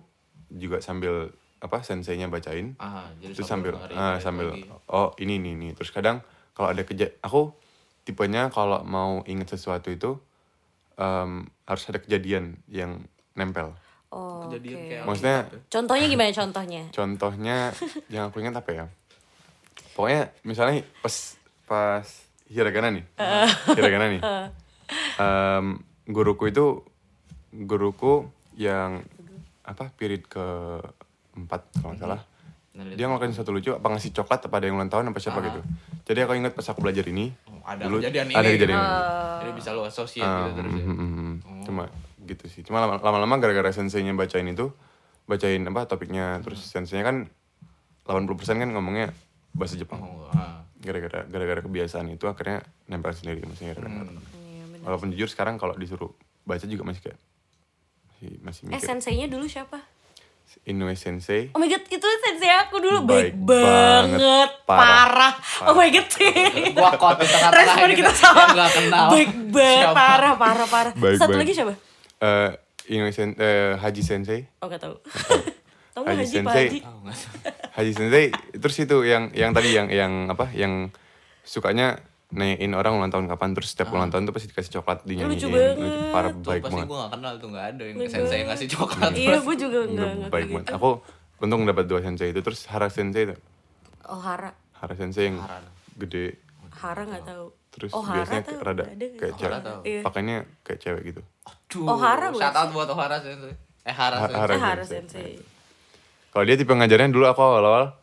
juga sambil apa senseinya bacain Ah, jadi terus sambil dengerin sambil ah, balik sambil lagi. oh ini ini ini terus kadang kalau ada keja aku tipenya kalau mau inget sesuatu itu em, harus ada kejadian yang nempel oh oke Kejadian kayak maksudnya contohnya gimana contohnya contohnya [laughs] yang aku ingat apa ya pokoknya misalnya pas pas hiragana [laughs] nih hiragana nih Em, guruku itu guruku yang apa period ke empat kalau nggak salah Nah, dia ngelakuin satu lucu apa ngasih coklat apa ada yang ulang tahun apa siapa gitu jadi aku ingat pas aku belajar ini Ah. Oh, ada kejadian ada ini. Ah. kejadian Eh. ini jadi bisa lo associate gitu terus ya. Mm, mm, mm. cuma gitu sih cuma lama- lama-lama gara-gara senseinya bacain itu bacain apa topiknya terus senseinya kan 80% kan ngomongnya bahasa Jepang Oh, ah. gara-gara gara-gara kebiasaan itu akhirnya nempel sendiri maksudnya gara-gara. Iya, bener. walaupun jujur sekarang kalau disuruh baca juga masih kayak masih, masih eh mikir senseinya dulu siapa Inoue sensei Oh my god, itu sensei aku dulu baik, Baik banget, banget, parah. parah. Oh my [laughs] god. gua kot di tengah-tengah Respon gitu. kita sama. Yang nggak kenal. Baik banget, Siapa? parah, parah, parah. Baik Satu banget. lagi siapa? eh Inoue sen- eh, Haji sensei Oh gak tau. [laughs] Tahu Haji Haji Pak Sensei. Haji. Tahu nggak sih? Haji Sensei terus itu yang yang tadi yang yang apa yang sukanya nanyain orang ulang tahun kapan terus setiap Ah. ulang tahun tuh pasti dikasih coklat dinyanyiin Lucu banget. parah Tuh, baik pasti banget gua gak kenal tuh nggak ada yang Baik sensei banget. ngasih coklat Iya, terus. gue juga enggak. Bener, enggak baik kayak banget aku untung dapat dua sensei itu terus Hara Sensei gitu. tuh Oh Hara. Hara Sensei yang Hara. gede Hara gak tau. terus oh, Hara biasanya tau, rada ada nggak? kayak Oh, cewek Hara tau. Iya. pakainya kayak cewek gitu Aduh. Ohara bukan Shout out buat Ohara sensei. Eh Hara Ha- sensei. Eh, Hara Hara Sensei. Sensei. kalau dia tipe ngajarnya dulu aku awal-awal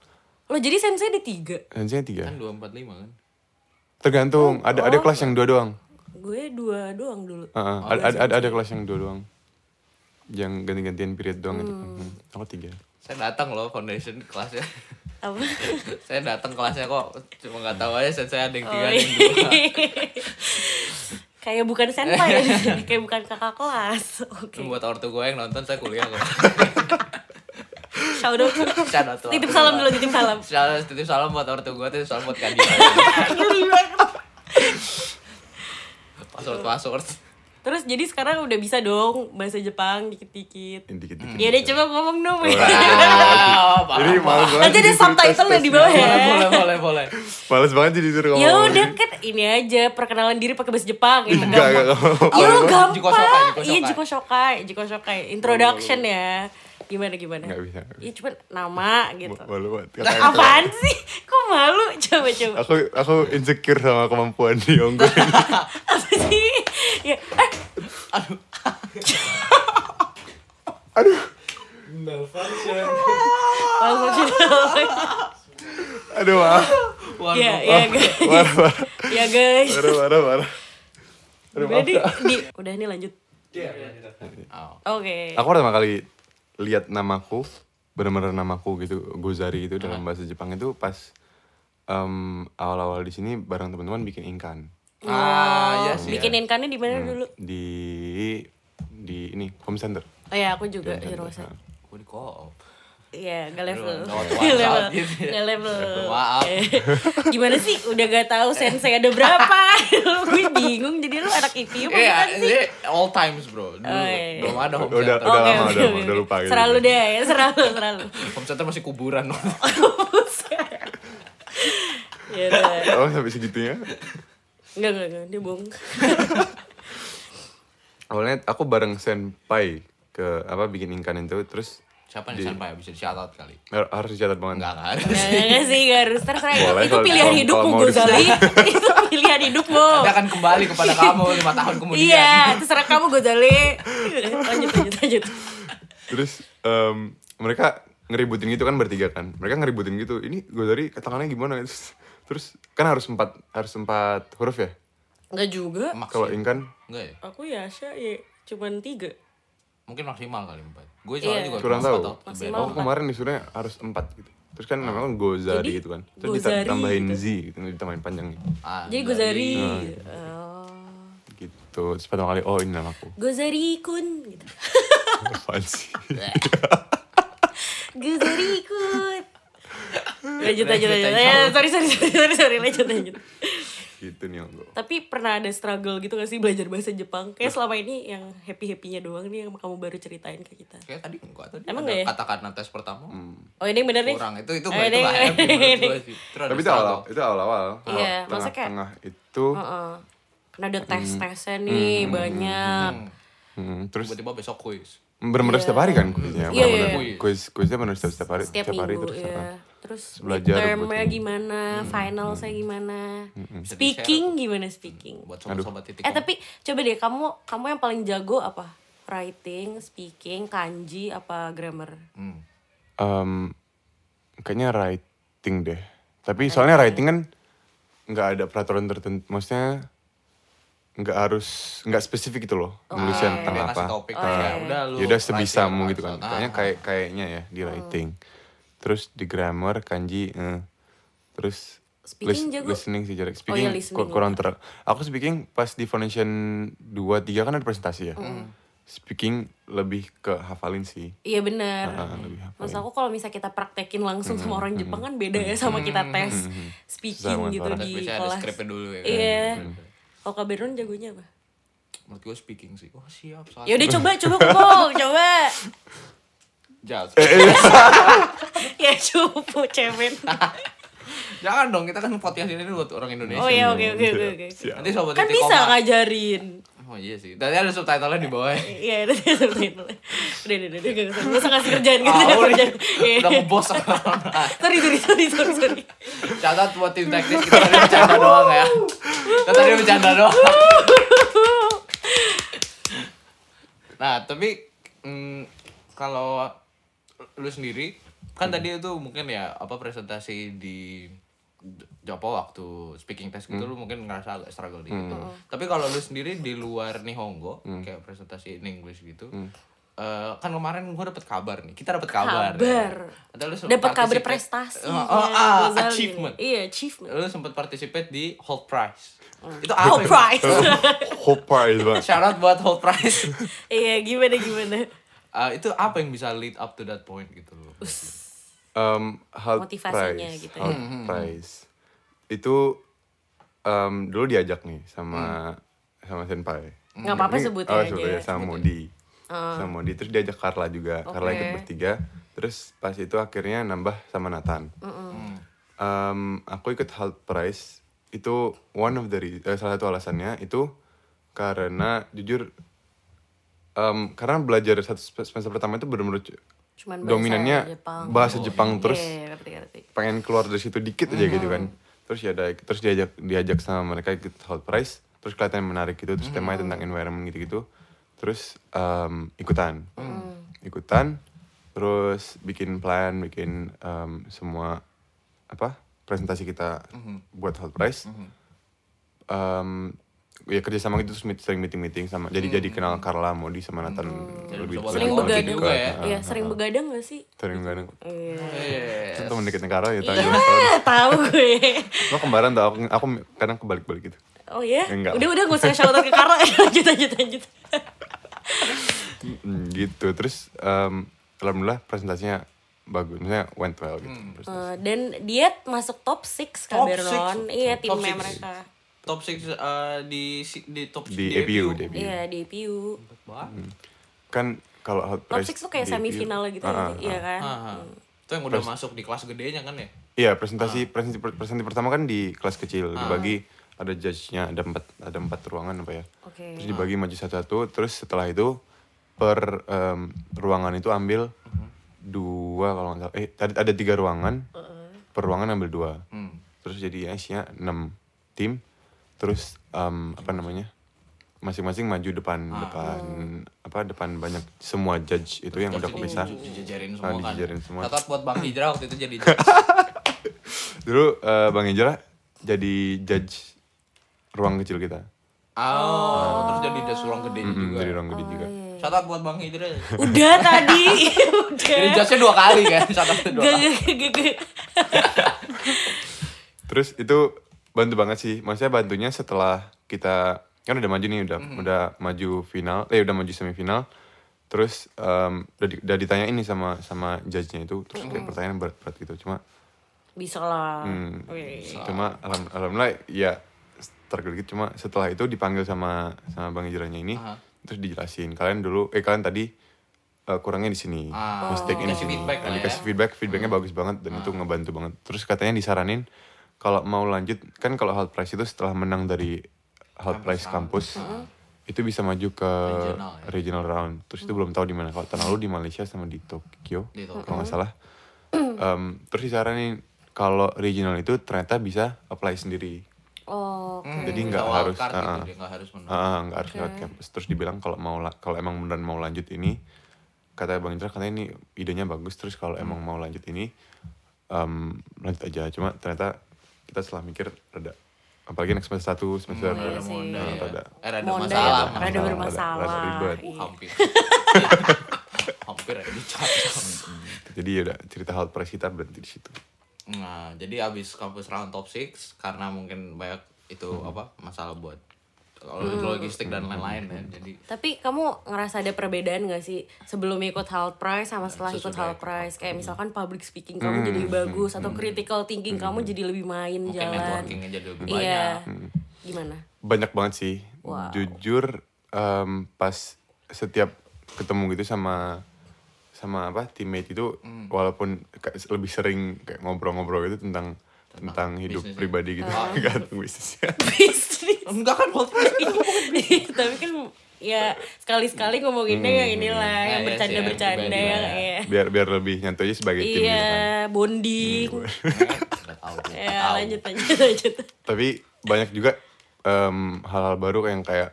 Lo jadi sensei ada tiga? sensei tiga Kan 245 kan. tergantung Oh, ada ada kelas yang dua doang Gue dua doang dulu. Heeh, Oh, iya, ada, ada, ada ada kelas yang dua doang yang ganti-gantian period doang itu Hmm, aku tiga Saya datang loh foundation kelasnya. Apa? saya datang kelasnya kok cuma nggak tahu aja sensei ada yang Oh, tiga ada iya. yang dua. [laughs] Kayak bukan senpai, kayak bukan kakak kelas. Oke. Buat ortu gue yang nonton saya kuliah kok. [laughs] Shout out. Shout out to Titip ortu salam gua. dulu, titip [laughs] salam. Salam, titip salam buat ortu gue, titip salam buat Kadi. password password. Terus jadi sekarang udah bisa dong bahasa Jepang dikit-dikit. Yang dikit-dikit. gitu. Ya udah coba ngomong dong. Ah, parah, parah. Jadi males banget. [laughs] Nanti ada disuruh subtitle tes-tes di bawah gitu. boleh ya. boleh boleh boleh. Males banget jadi disuruh ngomong. Ya udah kan ini aja perkenalan diri pakai bahasa Jepang yang Enggak, enggak. gampang. enggak. Ya lo Apa? Jiko Shokai, gampang. Jiko Iya Shokai. Jiko Shokai, Jiko Shokai. Introduction ya. Gimana gimana? Nggak bisa, nggak bisa. Iya cuma nama gitu. Malu banget. Katanya, Apaan sih? Kok malu? Coba coba. Aku aku insecure sama kemampuan di Onggo [laughs] ini. Apa sih? Ya, eh, langsung aja. Aduh, [laughs] maaf. Waduh. Ya, ya guys. Parah, parah. Ya guys. Parah, parah, parah. Aduh, Udah maaf. di, di- udah nih lanjut. Oh. Oke. Aku pertama kali lihat namaku, bener-bener namaku gitu, Gozari itu dalam Ah. bahasa Jepang itu pas em, awal-awal di sini bareng teman-teman bikin inkan Ah, ya sih. Bikinin kannya di mana dulu? di di ini home center. Oh ya, aku Iya, juga di Rosa. Gue di co-op. Iya, gak level. [laughs] Aduh, Gak WhatsApp level. gitu ya. Gak level. Maaf. Eh, Gimana sih? Udah gak tahu sensei ada [laughs] berapa. Gue bingung jadi lu anak IPU apa Iya, bukan sih? ini all times bro. Dulu Oh, iya. belum ada home Udah- center. udah Oke, oke, lama, udah- oke, udah oke. lupa gitu. Seralu deh, ya, seralu, seralu. Home center masih kuburan. [laughs] Ya udah. Oh, sampai segitunya. Enggak, enggak, enggak, dia bohong. Awalnya aku bareng senpai ke apa bikin inkan itu terus Siapa nih senpai bisa di shout out kali? har- harus dicatat banget. Enggak kan? Enggak, enggak, enggak sih, enggak harus terserah. Itu, Boleh itu kalau- pilihan kalau- hidupmu, kalau mau Gozali. [laughs] itu pilihan hidupmu. Dia akan kembali [laughs] kepada kamu lima tahun kemudian. Iya, terserah [laughs] Iya, kamu Gozali. lanjut, lanjut, lanjut. Terus em, mereka ngeributin gitu kan bertiga kan mereka ngeributin gitu ini Gozali katakannya gimana terus, terus kan harus empat harus empat huruf ya Enggak juga. maksimal kalau ingkan enggak ya Aku Yasha ya cuman tiga. mungkin maksimal kali empat gue soalnya Iya. juga kurang cuma tahu empat waktu Maksimal. band. oh kemarin disuruhnya harus empat gitu terus kan namanya Gozali Jadi, gitu kan terus dita- Gozali ditambahin gitu. Z gitu ditambahin panjang Ah, Jadi Gozari. Oh. gitu terus pertama kali oh ini nama aku [laughs] Gozari kun gitu. apaan sih Gozari [laughs] kun. Lanjut lanjut Lanjut, lanjut. lanjut. Ya, sorry sorry sorry sorry sorry lanjut lanjut. gitu nih aku Tapi pernah ada struggle gitu gak sih belajar bahasa Jepang? Kayak selama ini yang happy-happynya doang nih yang kamu baru ceritain ke kita. kayak tadi enggak tadi Emang ada enggak ya? kata-kata tes pertama Hmm. Oh ini yang bener nih? kurang ya. itu itu Oh, nggak itu ini- nggak happy menurut gua sih. [laughs] Terus ada tapi itu struggle. awal itu awal awal Iya, masa tengah kayak- Oh, tengah itu Heeh. Karena ada tes-tesnya nih banyak. hmm, terus tiba-tiba besok kuis benar-benar setiap hari kan kuisnya Iya, benar-benar iya, iya. kuis kuisnya benar setiap setiap hari Setiap hari minggu terus ya. kan. Terus Belajar gitu. Hmm, midtermnya buat ini. gimana, final saya gimana. Hmm, Bisa Speaking gimana speaking? buat sobat-sobat titik Eh tapi coba deh kamu kamu yang paling jago apa? Writing, speaking, kanji apa grammar? Hmm. Em, kayaknya writing deh tapi soalnya writing kan nggak ada peraturan tertentu maksudnya nggak harus nggak spesifik gitu loh penulisan Dia tentang ngasih apa topik Eh, Oh, kayak, iya. udah lu ya udah sebisa writing mu apa, gitu kan soal- kayaknya ah, kayak kayaknya ya di writing terus di grammar kanji eh. terus Speaking jago? listening sih jarak Oh speaking iya, listening ku- kurang ter aku speaking pas di foundation 2 3 kan ada presentasi ya speaking lebih ke hafalin sih Iya benar. Ah, lebih hafalin Maksud aku kalau misalnya kita praktekin langsung sama orang Jepang kan beda ya sama kita tes speaking Sama gitu orang. ada- di biasanya ada kelas. scriptnya dulu ya kan. Iya. Kalau Kak Beron jagonya apa? menurut gue speaking sih wah siap saat Ya udah coba coba kumpul, coba. Jas. Eh, Ya cupu cemen. jangan dong kita kan podcast ini buat orang Indonesia Oh ya oke oke oke oke. Siap. nanti sobat Kan titik bisa koma- ngajarin. oh iya sih tadi ada subtitlenya di bawah [laughs] ya. Iya, udah udah udah udah udah udah gak usah, gak usah ngasih kerjaan gitu Ah, udah, kerjaan. Iya. udah ngebos [laughs] Sorry sorry sorry sorry sorry. Catat buat tim teknis kita tadi bercanda doang ya. Kita tadi bercanda doang. Nah, tapi mm, kalau lu sendiri kan tadi itu mungkin ya apa presentasi di Japo waktu speaking test gitu lu mungkin ngerasa agak struggle di gitu. Tapi kalau lu sendiri di luar Nihongo kayak presentasi in English gitu. eh, kan kemarin gue dapet kabar nih kita dapet kabar, ya. Kabar. Ada lu Dapat kabar participate- prestasi. Oh, oh, ah, Ghazali. achievement Iya, [laughs] achievement. lu sempat participate di Hold Price. Itu Oh, apa? ya? prize. Hoppa itu Bang. Shout out buat Hold Price. [laughs] [laughs] Iya, gimana gimana? Eh, itu apa yang bisa lead up to that point gitu loh. um, health Motivasinya price, gitu ya. health price. itu um, dulu diajak nih sama sama senpai Nggak apa-apa Ini- sebut oh, aja. sebut sama Modi sama Modi terus diajak Carla juga Carla Oke. ikut bertiga terus pas itu akhirnya nambah sama Nathan Um, aku ikut health price itu one of the re- eh, salah satu alasannya itu karena jujur um, karena belajar satu semester pertama itu benar-benar cu- Cuman bahasa dominannya Jepang. bahasa Jepang terus Iya, ngerti ngerti. pengen keluar dari situ dikit aja gitu kan terus ya ada terus diajak diajak sama mereka ikut hot price terus kelihatannya menarik gitu terus temanya tentang environment gitu gitu terus em, ikutan ikutan terus bikin plan bikin em, semua apa presentasi kita buat hot price Em, ya kerjasama gitu terus meet- sering meeting meeting sama jadi jadi kenal Carla Modi sama Nathan lebih gitu Sobat Sering Sering lebih begadang. juga dekat. ya. Iya, sering begadang gak sih? sering begadang Iya. Yes. teman dekatnya Carla ya tanya Iya, tahu gue. Lo kembaran tau, aku, aku kadang kebalik-balik gitu Oh ya? Enggak. Udah udah gak usah shout out ke Karla. [laughs] lanjut lanjut lanjut. Mm, Gitu, terus em, Alhamdulillah presentasinya bagus, maksudnya went well gitu presentasi. Eh, dan dia masuk top 6 Kak Top Beron. six. Iya, Top timnya six. mereka. Top 6 di si- di top six Di EPU, di EPU. Iya, di PU. Wah. Kan kalau hot Top press 6 tuh kayak di- semifinal gitu, Ah, ah, iya ah. kan? Aha. Itu yang udah masuk di kelas gedenya kan ya? Iya, Ah. presentasi, presentasi presentasi pertama kan di kelas kecil dibagi ada judge-nya, ada empat ada empat ruangan apa ya. Oke. Terus dibagi maju satu-satu, terus setelah itu per em, ruangan itu ambil dua kalau nggak salah. Eh, tadi ada tiga ruangan. Per ruangan ambil dua. Hmm. terus jadi ya isinya 6 tim terus em, apa namanya masing-masing maju depan depan apa apa depan banyak semua judge itu yang udah kepisah dijejerin Ah, semua kan. dijejerin semua. Tatat buat Bang Hijrah waktu itu jadi judge. dulu eh, bang Ejra jadi judge ruang kecil kita Oh, terus jadi judge ruang gede Mm, juga. jadi ruang gede juga Shout-out buat Bang Hijrah. Udah [laughs] tadi, udah. Jadi judge-nya dua kali kan, shout-out dua Gak, kali. gak, gak, gak. terus itu bantu banget sih maksudnya bantunya setelah kita kan udah maju nih udah udah maju final eh udah maju semifinal terus em, udah, di- udah ditanya ini sama sama judge-nya itu terus kayak pertanyaan berat-berat gitu cuma Bisa lah. Hmm. Wih. cuma alham- alhamdulillah ya struggle dikit. cuma setelah itu dipanggil sama sama bang Jiranya ini Aha. terus dijelasin kalian dulu eh kalian tadi eh, kurangnya di sini Ah, mistake ini dikasih sini. feedback Nah, lah ya. Ah. dikasih feedback feedbacknya bagus banget dan itu ngebantu banget terus katanya disaranin kalau mau lanjut kan kalau hal price itu setelah menang dari hal price kampus itu bisa maju ke Regional regional, ya. round terus itu belum tahu di mana kalau tahun lalu di Malaysia sama di Tokyo Di Tokyo. kalau nggak salah Em, terus disaranin kalau regional itu ternyata bisa apply sendiri Oh, Hmm, Jadi bisa nggak wildcard gitu, harus, ah, ah. dia nggak harus menang. Ah, nggak harus lewat kampus. Terus dibilang kalau mau la- kalau emang beneran mau lanjut ini, kata Bang Indra katanya ini idenya bagus. Terus kalau emang mau lanjut ini, em, lanjut aja. Cuma ternyata kita setelah mikir ada apalagi next semester satu semester Iya Rada sih. monda ya. Rada. Eh, rada Monda masalah. ya, rada masalah. bermasalah. rada ribet. Iya. [laughs] Hampir. Hampir aja dicap. jadi ya udah cerita hal pres kita berhenti di situ. Nah, jadi abis kampus round top 6 karena mungkin banyak itu Hmm. apa masalah buat Hmm. logistik dan lain-lain ya. Jadi Tapi kamu ngerasa ada perbedaan gak sih sebelum ikut hal price sama setelah ikut hal price? Kayak misalkan public speaking Hmm, kamu jadi bagus atau critical thinking kamu jadi lebih main mungkin jalan. networkingnya jadi lebih banyak. Hmm. Iya. Gimana? Banyak banget sih. Wow. Jujur em, pas setiap ketemu gitu sama sama apa teammate itu walaupun kayak lebih sering kayak ngobrol-ngobrol gitu tentang tentang, hidup bisnis ya? pribadi gitu [laughs] enggak tentang bisnisnya. [laughs] Bisnis. Enggak kan [laughs] buat Tapi kan ya sekali-sekali ngomonginnya yang inilah, Nah, yang iya sih, bercanda-bercanda yang yang pribadi ya. iya. biar biar lebih nyantai aja sebagai tim gitu Iya, kan. Hmm, bonding. Enggak tahu. nggak Ya, tahu. lanjut lanjut lanjut. Tapi banyak juga em, hal-hal baru yang kayak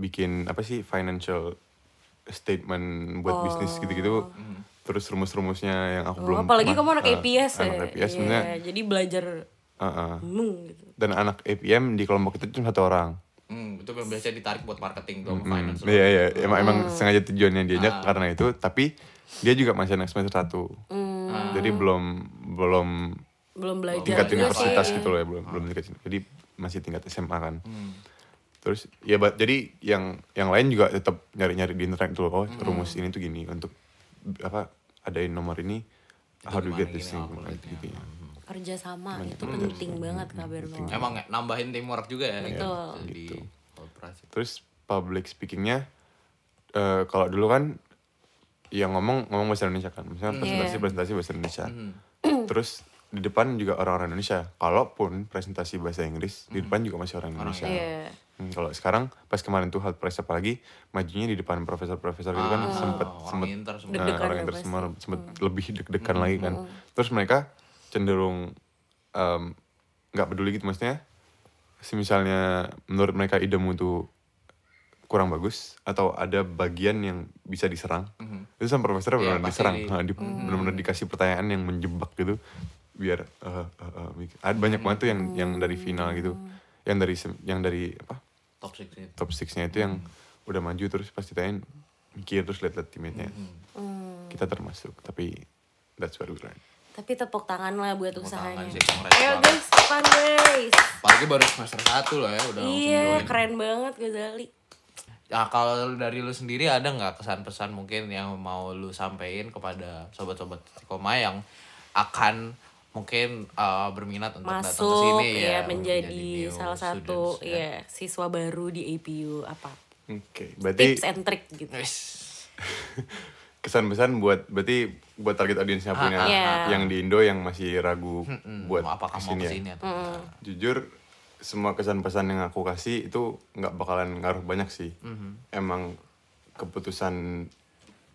bikin apa sih financial statement buat bisnis gitu-gitu. Terus rumus-rumusnya yang aku belum Oh. Apalagi pernah- kamu anak ah, IPS ya. Anak IPS Iya, sebenarnya. jadi belajar ah, ah. mung gitu. Dan anak IPM di kelompok itu cuma satu orang. Hmm, itu yang biasanya ditarik buat marketing tuh sama finance. Iya iya, emang emang Oh. sengaja tujuannya diajak karena itu, tapi dia juga masih anak semester satu. Hmm. Jadi belum belum Belum belajar. tingkat Iya universitas sih. gitu loh ya, belum belum tingkat. Jadi masih tingkat SMA kan. Terus ya ba- jadi yang yang lain juga tetap nyari-nyari di internet dulu. Oh, rumus ini tuh gini untuk apa adain nomor ini how do you gimana get this gini, thing aku gitu, gitu ya. kerja sama itu penting banget kabar banget. Emang ya, nambahin teamwork juga ya. Betul. Jadi Gitu. operasi. Terus public speakingnya eh kalau dulu kan yang ngomong ngomong bahasa Indonesia kan, misalnya presentasi presentasi bahasa Indonesia. Terus di depan juga orang-orang Indonesia. Kalaupun presentasi bahasa Inggris di depan juga masih Hmm. orang Indonesia. Iya. Hmm, kalau sekarang pas kemarin tuh hal press apalagi majunya di depan profesor-profesor gitu kan sempet Ah, orang sempet inter semua. nah, Deg-degan ya orang Hmm. inter pasti. semua sempet lebih deg-degan lagi kan. Terus mereka cenderung em, nggak peduli gitu maksudnya. Misalnya menurut mereka idemu tuh kurang bagus atau ada bagian yang bisa diserang itu sama profesornya Iya, benar-benar pasti diserang di- Nah, di- Hmm. benar-benar dikasih pertanyaan yang menjebak gitu biar eh, eh, eh, mikir. ada Hmm. banyak banget tuh yang yang dari final gitu yang dari sem- yang dari apa Top six itu. top sixnya itu yang udah maju terus pas ditanyain mikir terus lihat-lihat teammate-nya Hmm. kita termasuk tapi that's what we learn Tapi tepuk tangan lah buat usahanya. tangan sih, congrats Ayo banget. guys, fun guys. Apalagi baru semester 1 loh ya udah langsung Iya, join. keren banget Ghazali. Nah, kalau dari lu sendiri ada nggak kesan-pesan mungkin yang mau lu sampein kepada sobat-sobat Tikoma yang akan mungkin uh, berminat untuk datang ke Masuk sini ya, ya, menjadi new salah satu students, ya. ya siswa baru di APU apa oke berarti tips and trick gitu. Wis. kesan-pesan buat berarti buat target audiensnya punya ah, ah. yang di Indo yang masih ragu buat mau apakah mau ke kesini ya. sini atau Mm. enggak. jujur semua kesan-pesan yang aku kasih itu nggak bakalan ngaruh banyak sih emang keputusan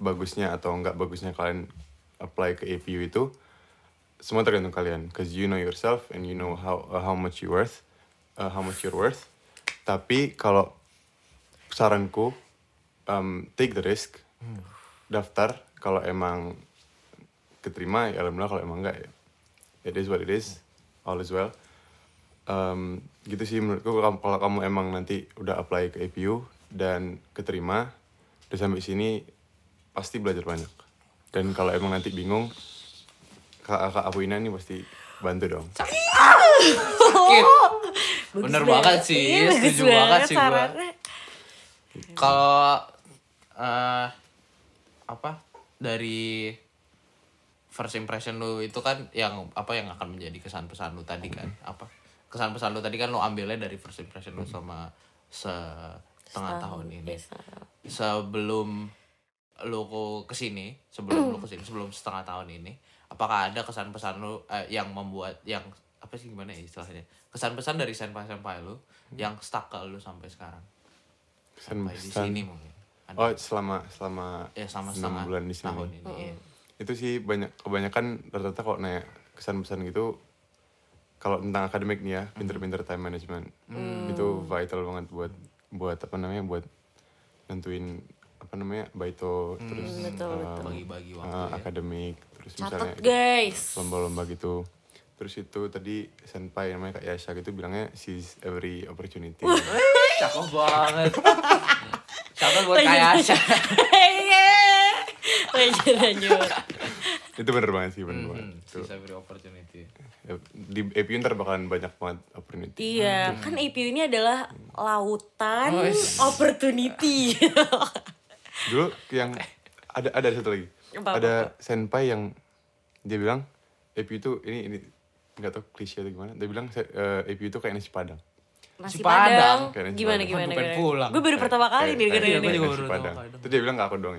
bagusnya atau nggak bagusnya kalian apply ke APU itu semua tergantung kalian cause you know yourself and you know how uh, how much you worth uh, how much you're worth tapi kalau saranku um, take the risk daftar kalau emang keterima ya alhamdulillah kalau emang enggak ya it is what it is all is well Um, gitu sih menurutku kalau, kalau kamu emang nanti udah apply ke APU dan keterima udah sampai sini pasti belajar banyak dan kalau emang nanti bingung kak kak Apuina nih pasti bantu dong Sakit. Bagus Bener banget sih, Iya, bagus setuju banget sih gua. sarannya. Kalau eh apa dari first impression lu itu kan yang apa yang akan menjadi kesan pesan lu tadi kan apa kesan pesan lu tadi kan lu ambilnya dari first impression lu sama Ah, setengah tahun ini sebelum lu ke- kesini sebelum lu kesini sebelum setengah tahun ini apakah ada kesan pesan lu eh, yang membuat yang apa sih gimana ya istilahnya kesan pesan dari senpai senpai lu yang stuck ke lu sampai sekarang Kesan Sampai di pesan. sini mungkin Ada- Kan oh selama selama ya sama enam setengah bulan di sini tahun ini iya. itu sih banyak kebanyakan rata-rata kalau nanya kesan-pesan gitu kalau tentang akademik nih ya Mhm. pinter-pinter time management Hmm. itu vital banget buat buat apa namanya buat nentuin apa namanya baito terus Hmm, betul, um, betul. bagi-bagi eh, waktu ya. akademik terus misalnya Catat itu guys. lomba-lomba gitu terus itu tadi senpai namanya kak Yasha gitu bilangnya seize every opportunity cakep [laughs] banget cakep buat kayak Asya Iya. Lanjut lanjut. itu bener banget sih bener banget Hmm, Itu. bisa beri [laughs] opportunity di EPU ntar bakalan banyak banget opportunity Iya, kan APU ini adalah lautan Oh, is- [laughs] opportunity. dulu yang ada ada satu lagi Apa, ada senpai yang dia bilang EPU itu ini ini nggak tau klise atau gimana dia bilang se- eh, EPU itu kayak nasi padang Nasi Nasi Padang. Padang. Kayak nasi Gimana gimana? Padang. Aduh, pengen gimana? Kan pulang. Eh, Gue baru pertama kali Kayak- nih kayak- dengerin Iya, gua ini. juga. nasi baru padang tahu, Padang. terus dia bilang nggak aku doang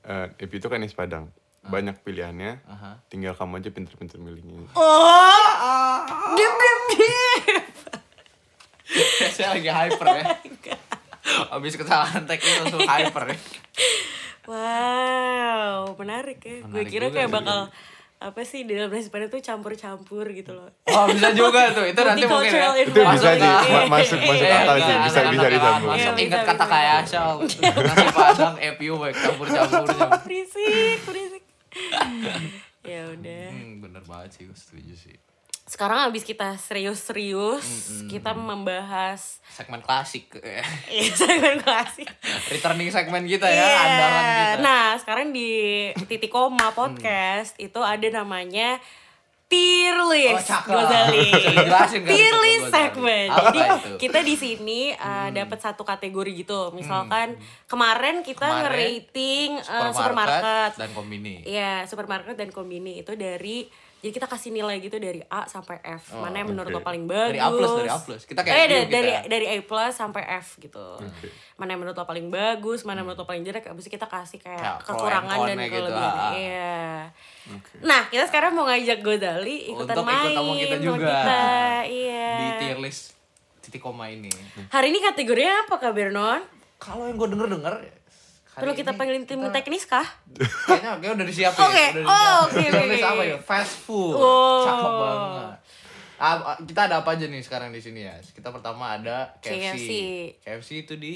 Eh EPU itu kayak nasi padang banyak pilihannya Ah. Aha. tinggal kamu aja pinter-pinter milihnya Oh. Dip dip dip. saya lagi hyper [laughs] ya abis kesalahan teknis langsung Iya. hyper ya Wow, menarik ya. Gue Menarik kira juga kayak sih. bakal apa sih di dalam nasi padang tuh campur-campur gitu loh. Wah Oh, bisa juga tuh, itu nanti mungkin ya. Multicultural Iya. itu bisa Masuk sih akal. ma- masuk masuk Eh, akal enggak, sih bisa anak-anak bisa yang disambung masuk. Iya, bisa, Ingat kata bisa. kayak Asya, nasi padang, EPU, baik [laughs] campur-campurnya. berisik, [laughs] berisik. ya udah. Hmm, bener banget sih, gue setuju sih. Sekarang abis kita serius-serius, kita membahas [laughs] Segmen klasik, eh, ya, segmen klasik. returning segmen kita ya, Iya. andalan kita. Mm. Nah, sekarang di titik koma podcast itu ada namanya tier list Oh, cakep. Gozali. [laughs] Bisa dijelasin kan tier itu, list Gozali? segmen. Apa Jadi itu? Mm. kita di sini uh, dapat satu kategori gitu. Misalkan kemarin kita Kemarin, ngerating uh, supermarket, supermarket. dan kombini. Iya, supermarket dan kombini itu dari jadi kita kasih nilai gitu dari A sampai F. Oh, Mana yang menurut lo oke. paling bagus? Dari A plus, dari A plus. Kita kayak Eh, review da- dari kita. dari A plus sampai F gitu. Mana yang menurut lo paling bagus, Hmm. mana yang menurut lo paling jelek, abis itu kita kasih kayak Ya, pro kekurangan and dan con-nya gitu, kelebihan. ah. Iya. Nah, kita sekarang mau ngajak Godali ikutan Oh, Untuk main ikut sama kita sama juga. kita. Iya. [laughs] Di tier list titik koma ini. Hari ini kategorinya apa Kak Bernon? Kalau yang gue denger-denger hari Perlu kita ini panggilin tim teknis kah? Kayaknya kayaknya udah disiapin. Oke, oh, udah disiapin. oke, oke, Tier list oke. apa ya? Fast food. Oh. Cakep banget. Ah, kita ada apa aja nih sekarang di sini ya? Kita pertama ada KFC. KFC. KFC itu di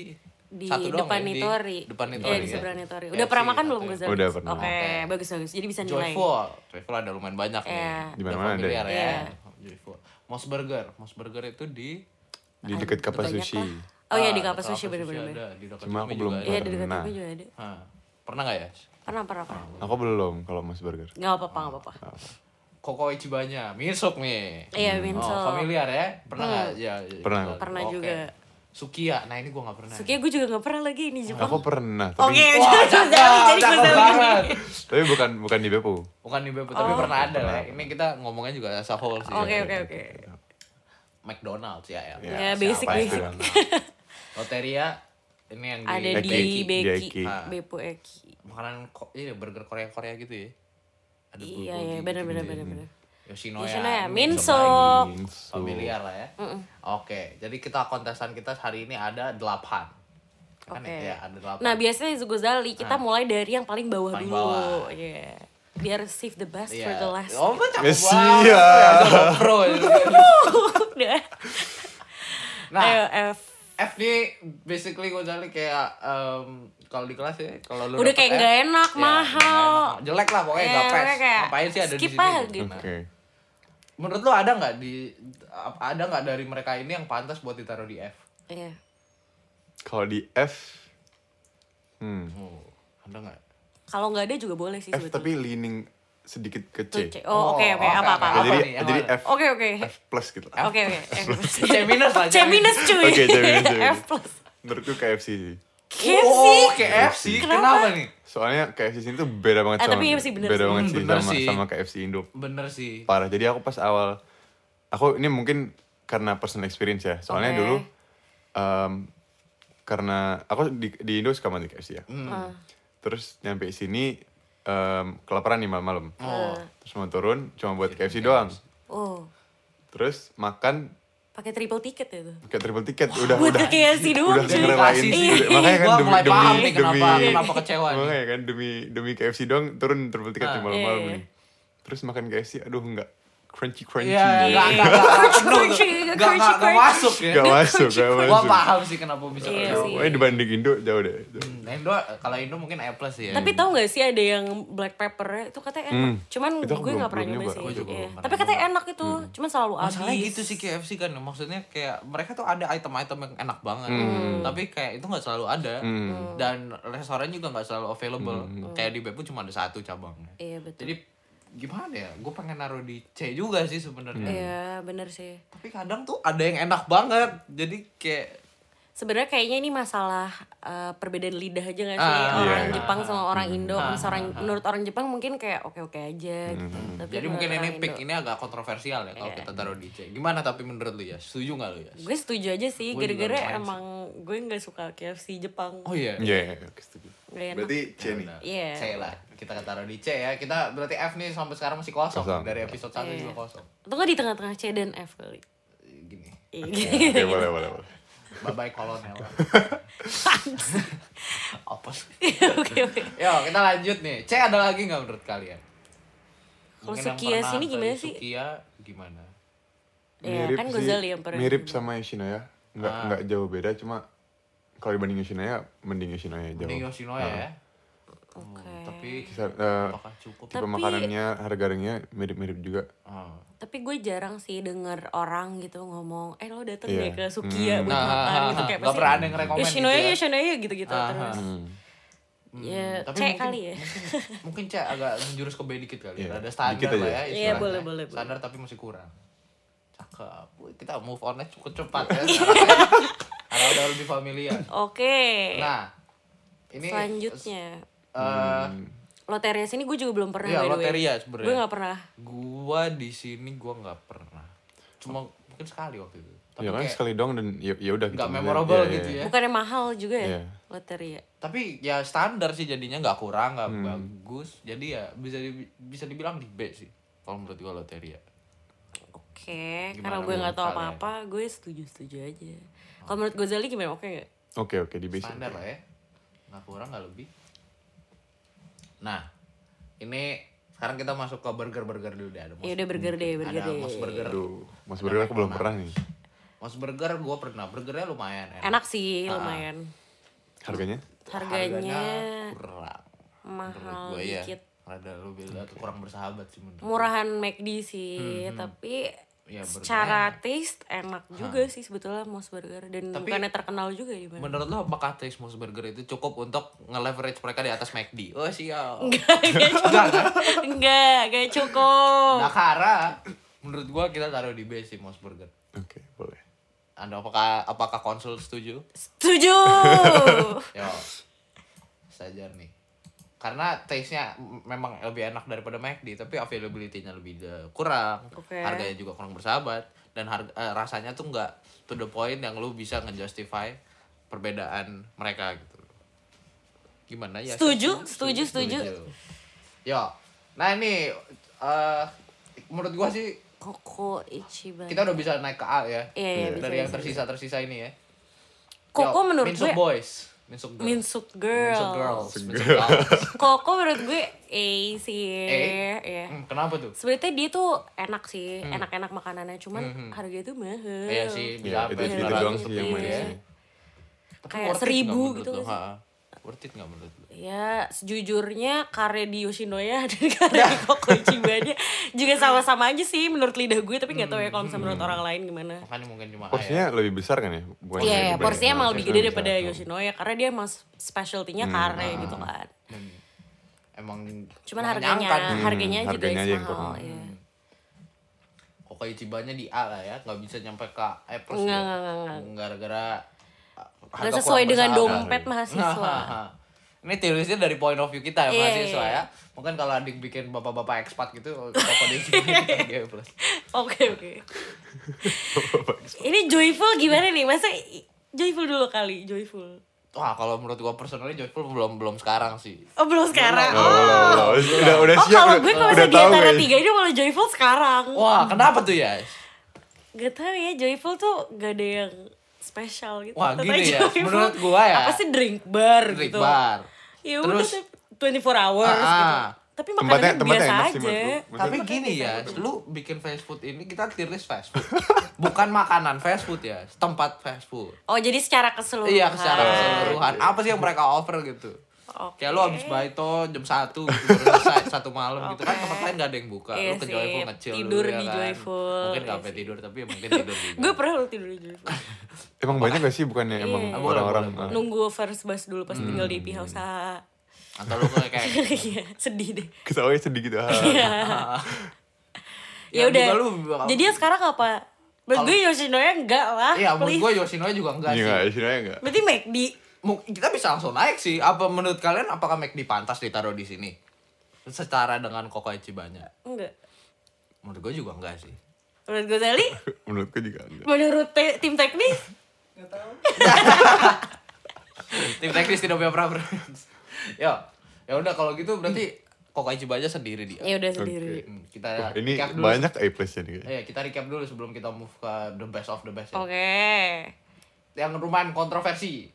Di satu doang depan ya? Di Nitori. depan Iya, Nitori. di ya? seberang Nitori. Udah KFC pernah makan belum satu Gus? ya. Zali? Udah pernah. Oke, bagus bagus. Jadi bisa nilai. Joyful. Joyful ada lumayan banyak Iya. nih. Di mana-mana Udah ada ya? familiar ya. Iya. Joyful. Mos Burger. Mos Burger itu di di dekat kapas Banyak sushi lah. Oh iya di Ah, kapas sushi bener-bener. ada, di dekat Cuma aku Cumi belum juga ada. Iya di dekat Pernah. Umi juga ada. Hah. Pernah nggak ya? Pernah pernah pernah. aku belum kalau mas burger Gak apa-apa gak apa-apa. Koko Ichibanya, Minsok nih. Iya Vinso. Oh, familiar ya? Pernah nggak? Ya, ya, Pernah. gitu. Pernah Oke. juga. Sukiya, nah ini gua nggak pernah. Sukiya gue juga gak pernah lagi ini Jepang. aku pernah Oke, tapi Wah, jadi cakep, jadi cakep Gozali. banget. tapi bukan bukan di Bepu Bukan di Bepo, tapi pernah ada lah. Ini kita ngomongnya juga as a whole sih. Oh. Oke oke oke. McDonald's ya. Ya, Iya. Ya, Siapa basic, yang basic. kenal? Loteria, ini yang Ada di, di Eki, di Beki, Eki. Ah. Bepo Eki. makanan ko- ini burger Korea-Korea gitu ya. Ada Iya bulgogi iya gitu. benar benar benar benar. Yoshinoya, Yoshinoya, Sobagi. Minso. Minso. familiar lah ya. Oke, jadi kita kontesan kita hari ini ada delapan. Kan Oke. ya ada delapan. Ah. Nah biasanya Zugozali kita mulai dari yang paling bawah Paling dulu. bawah. Iya. Biar save the best for Iya. the last. Oh, betul. Wow, Eh, [laughs] siap. ya, Zola Pro. Udah. Nah, Ayo F. F nih basically Gozali kayak em, kalau di kelas ya kalau lu Udah dapet kayak F, nggak enak, ya, mahal. nggak enak. jelek lah pokoknya Ya, nggak pas pokoknya kayak ngapain sih ada di skip sini lah gitu. gitu. Nah, Oke. menurut lu ada nggak di ap- ada nggak dari mereka ini yang pantas buat ditaruh di F Iya. Kalau di F, hmm, oh, ada nggak Kalau nggak ada juga boleh sih F sebetulnya. tapi leaning sedikit ke Tuh, Iya, C. C. Oh, oke oke oke, apa apa. oke. Ya, Apa jadi nih? Apa jadi ada? F, Oke oke. F plus gitu. Oke [laughs] oke. F plus. [laughs] C minus lah C minus cuy. Oke, C minus, C minus. F plus. Menurutku KFC sih. KFC. oh KFC kenapa? Kenapa? nih Soalnya KFC sini tuh beda banget Ah, sama tapi iya sih, bener beda sih. banget Hmm, sih bener sama sih. sama KFC Indo. bener sih Parah. Jadi aku pas awal aku ini mungkin karena personal experience ya. Soalnya Oke. dulu em, karena aku di, di Indo suka banget KFC ya. Hmm. Ah, Terus nyampe sini em, kelaparan nih malam-malam. Ah. oh Terus mau turun cuma buat KFC doang. Oh. Terus makan Pakai triple ticket ya tuh. pakai triple ticket udah Buat udah ke KFC doang, udah cuy. Iya. ngerelain Dedikasi sih. sih. Udah- makanya kan Gua demi mulai demi paham nih demi kenapa- kenapa kecewa nih. makanya kan demi demi KFC doang turun triple ticket Ah. nih malam-malam Iya, iya. nih terus makan KFC aduh enggak crunchy crunchy Iya, nggak nggak nggak penuh tuh. Crunchy, Nggak- crunchy, nggak- nggak crunchy. masuk ya. Gak masuk, gak crunchy. Gua masuk. paham sih kenapa bisa. Iya kayak sih. gitu. Pokoknya dibanding Indo jauh deh. jauh. Nah, Indo kalau Indo mungkin A plus sih ya. Tapi tau gak sih ada yang black pepper ya? itu katanya enak. Hmm. Cuman Itu aku gue belum- gak pernah belum Hmm. nyoba nyoba. sih. Gue juga Iya. belum pernah Tapi katanya enak itu. Cuman selalu habis. Masalahnya gitu sih KFC kan maksudnya kayak mereka tuh ada item-item yang enak banget tapi kayak itu nggak selalu ada dan restoran juga nggak selalu available kayak di Beppu cuma ada satu cabangnya Iya betul. jadi gimana ya gue pengen naruh di C juga sih Hmm. sebenarnya Iya bener sih. tapi kadang tuh ada yang enak banget jadi kayak Sebenarnya kayaknya ini masalah eh, perbedaan lidah aja gak sih Ah, Mm-hmm. orang iya. Jepang sama orang Indo. Misal orang- menurut orang Jepang mungkin kayak oke oke aja. Gitu. Tapi Mm-hmm. jadi menurut mungkin orang ini Indo- pick ini agak kontroversial ya kalau Iya. kita taruh di C gimana tapi menurut lu ya setuju nggak lu ya Gue setuju aja sih, Gue juga lumayan gara-gara sih. emang gue nggak suka KFC Jepang. oh iya Iya, iya, iya, oke, setuju. Gak enak. Berarti C nih. Nah, Iya. C lah kita taruh di C ya kita berarti F nih sampai sekarang masih kosong, Kosong. dari episode 1 Iya. juga kosong Atau nggak di tengah-tengah C dan F kali. gini Iya. Oke, boleh, boleh, boleh. bye bye kolonel apa sih [laughs] Oke oke. yo kita lanjut nih C ada lagi nggak menurut kalian Kalau Mungkin yang Sukiya pernah sini dari gimana sih? Sukiya gimana Iya, kan sih- Gozali yang pernah Mirip nyoba. sama Yoshinoya. Enggak, Ah. enggak jauh beda, cuma kalau dibanding Yoshinoya, mending Yoshinoya jauh. mending Yoshinoya Eh. ya Oke. tapi Kisar, eh, apakah cukup tipe Tapi- makanannya, harganya mirip-mirip juga. Ah. Tapi gue jarang sih denger orang gitu ngomong, eh lo dateng Iya. deh ke Sukiya Hmm. buat Nah, makan gitu kayak nggak pernah ada yang rekomend gitu Yoshinoya, ya. Yoshinoya gitu-gitu Ah, terus. Hmm. Ya, tapi C mungkin- kali [laughs] ya. mungkin, mungkin C agak menjurus ke B dikit kali Iya, ada standar dikit aja. lah ya Iya, istilahnya. boleh, boleh, boleh. standar tapi masih kurang cakep Wih, kita move on nya cukup cepat [laughs] ya sekarang. karena udah lebih familiar Oke. nah ini Selanjutnya. eh, Loteria sini gue juga belum pernah Iya, by the way. Loteria sebenarnya. Gue gak pernah. gua di sini gua nggak pernah cuma mungkin sekali waktu itu tapi Ya kan kayak- sekali dong dan ya ya udah gitu. Nggak Maksudnya, memorable iya, gitu iya. ya. Bukannya mahal juga ya Iya. Loteria. tapi ya standar sih jadinya nggak kurang nggak bagus jadi ya bisa di- bisa dibilang di B sih kalau menurut gua loteria Oke, Gimana karena gue menurut gak tahu kalian? apa-apa, gue setuju-setuju aja. Kalau menurut Gozali gimana? Oke gak? Oke, oke di base. standar lah ya nggak kurang nggak lebih nah ini sekarang kita masuk ke burger burger dulu deh ada mos- Ya udah burger deh, burger Oh, ada deh. mos burger Aduh, Gitu. Mas Burger aku belum pernah nih. mos burger gua pernah burgernya lumayan enak. Enak Ah, sih lumayan. Harganya? Harganya, kurang mahal Menurut gua ya dikit. rada lu bilang tuh kurang bersahabat sih menurut Murahan McD Hmm, sih, tapi Ya, burger secara taste enak juga sih sebetulnya Mos Burger dan bukannya terkenal juga ya, di [laughs] mana. Menurut lo apakah taste Mos Burger itu cukup untuk nge-leverage mereka di atas McD? Oh sial. [laughs] Enggak, enggak, enggak cukup. Dakara. Menurut gua kita taruh di base sih Mos Burger. Oke, boleh. Anda apakah apakah konsul setuju? Setuju. [laughs] Yo. Sajar nih. Karena taste-nya m- memang lebih enak daripada McD, tapi availability-nya lebih de- kurang. Oke. Harganya juga kurang bersahabat dan harga eh, rasanya tuh nggak to the point yang lu bisa ngejustify perbedaan mereka gitu. Gimana ya? Setuju, setuju, setuju. Yo. Nah, ini eh menurut gua sih Koko Ichiban. kita udah bisa naik ke A ya. Iya, iya, bisa, Dari yang tersisa-tersisa ini ya. Koko Yo, menurut gue Minsuk Boys. Minsuk Girls. Minsuk Minsuk Girl. Girls. Minsuk Girls. [laughs] Koko menurut gue A sih. A? Iya. Hmm, Kenapa tuh? Sebenarnya dia tuh enak sih, enak-enak makanannya, cuman harga itu mahal. Hmm, Iya sih, bisa Ya, apa itu ya, itu Iya, doang iya, sih yang iya. manis sih. kayak seribu gitu kan nggak sih? worth it nggak menurut lu Ya, sejujurnya karya di Yoshinoya [laughs] dan karya di Koko Chibanya juga sama-sama aja sih menurut lidah gue, tapi nggak tahu Hmm, ya kalau misalnya menurut orang lain gimana. makanya mungkin cuma Porsinya lebih besar kan ya? Bukan Oh, Iya, lebih iya, banyak. porsinya emang lebih gede Porsinya daripada besar. Yoshinoya karena dia emang Hmm, specialty-nya kare ah. gitu kan. ayam. Hmm. emang kan. Cuman emang harganya, nyangkat. Hmm. harganya Hmm, aja harganya guys aja yang mahal. kurang. Iya. kok kayak cibanya di A lah ya nggak bisa nyampe ke E plus Enggak, ya enggak, enggak, gara-gara uh, harga Nggak sesuai kurang dengan bersahabat. dompet mahasiswa. Ini teorisnya dari point of view kita ya Iya, mahasiswa iya. ya. Mungkin kalau adik bikin bapak-bapak ekspat gitu, bapak dia juga [laughs] plus. Oke, oke. Ini joyful gimana nih? Masa i- joyful dulu kali, joyful. Wah kalau menurut gua personally Joyful belum belum sekarang sih. Oh, belum sekarang. Oh, Oh. loh, loh, loh. udah udah Oh, Iya, siap. kalau udah- gue kalau udah misalnya di tahu ya. antara guys. tiga ini malah joyful sekarang. Wah kenapa tuh ya? Gak tau ya, joyful tuh gak ada yang spesial gitu. Wah, Katanya gini ya, joyful menurut gua ya. Apa sih drink bar Drink gitu. bar. Ya udah Terus- tuh 24 hours Ah, gitu. ah. Tapi Tempatnya makanannya tempatnya biasa enak sih aja. menurut gue. Maksudnya- kan Tapi gini ya, lu bikin fast food ini kita tier list fast food. [laughs] Bukan makanan fast food ya, tempat fast food. Oh, jadi secara keseluruhan. Iya secara Oh, keseluruhan. iya. Apa sih yang mereka offer gitu? Oke. Kayak lu abis baito jam 1 gitu, baru selesai [laughs] satu malam gitu kan tempat lain gak ada yang buka. Iya lu ke sih, Joyful ngecil tidur dulu di ya kan. Joyful, Mungkin iya gak sampai sih. tidur tapi ya mungkin tidur [laughs] juga. Gue pernah lu tidur di joyful. Emang banyak gak sih bukannya emang Iya. Boleh, orang-orang boleh, ah. Nunggu first bus dulu pas tinggal Hmm. di IP House. ah. Atau lu kayak kayak [laughs] Iya, sedih deh. ketawanya sedih gitu. Iya. ah. Ya, [laughs] Ya, udah. juga lu- Jadi yang sekarang apa? Menurut gue Yoshinoya enggak lah. Iya, menurut please. gue Yoshinoya juga enggak Iya sih. enggak, istilahnya enggak. Berarti McD. Mung- kita bisa langsung naik sih. Apa menurut kalian apakah McD pantas ditaruh di sini? Secara dengan Koko Ichibannya. Enggak. Menurut gue juga enggak sih. Menurut gue Zali, Menurutku juga enggak. menurut te- tim teknis, Tim teknis tidak punya preference. [laughs] Yo, ya udah kalau gitu berarti Koko Ichibannya sendiri dia. ya udah sendiri. Hmm, kita Wah, Oh, ini recap dulu. banyak A plus-nya nih guys. Iya, kita recap dulu sebelum kita move ke the best of the best ya. Oke. Yang lumayan kontroversi.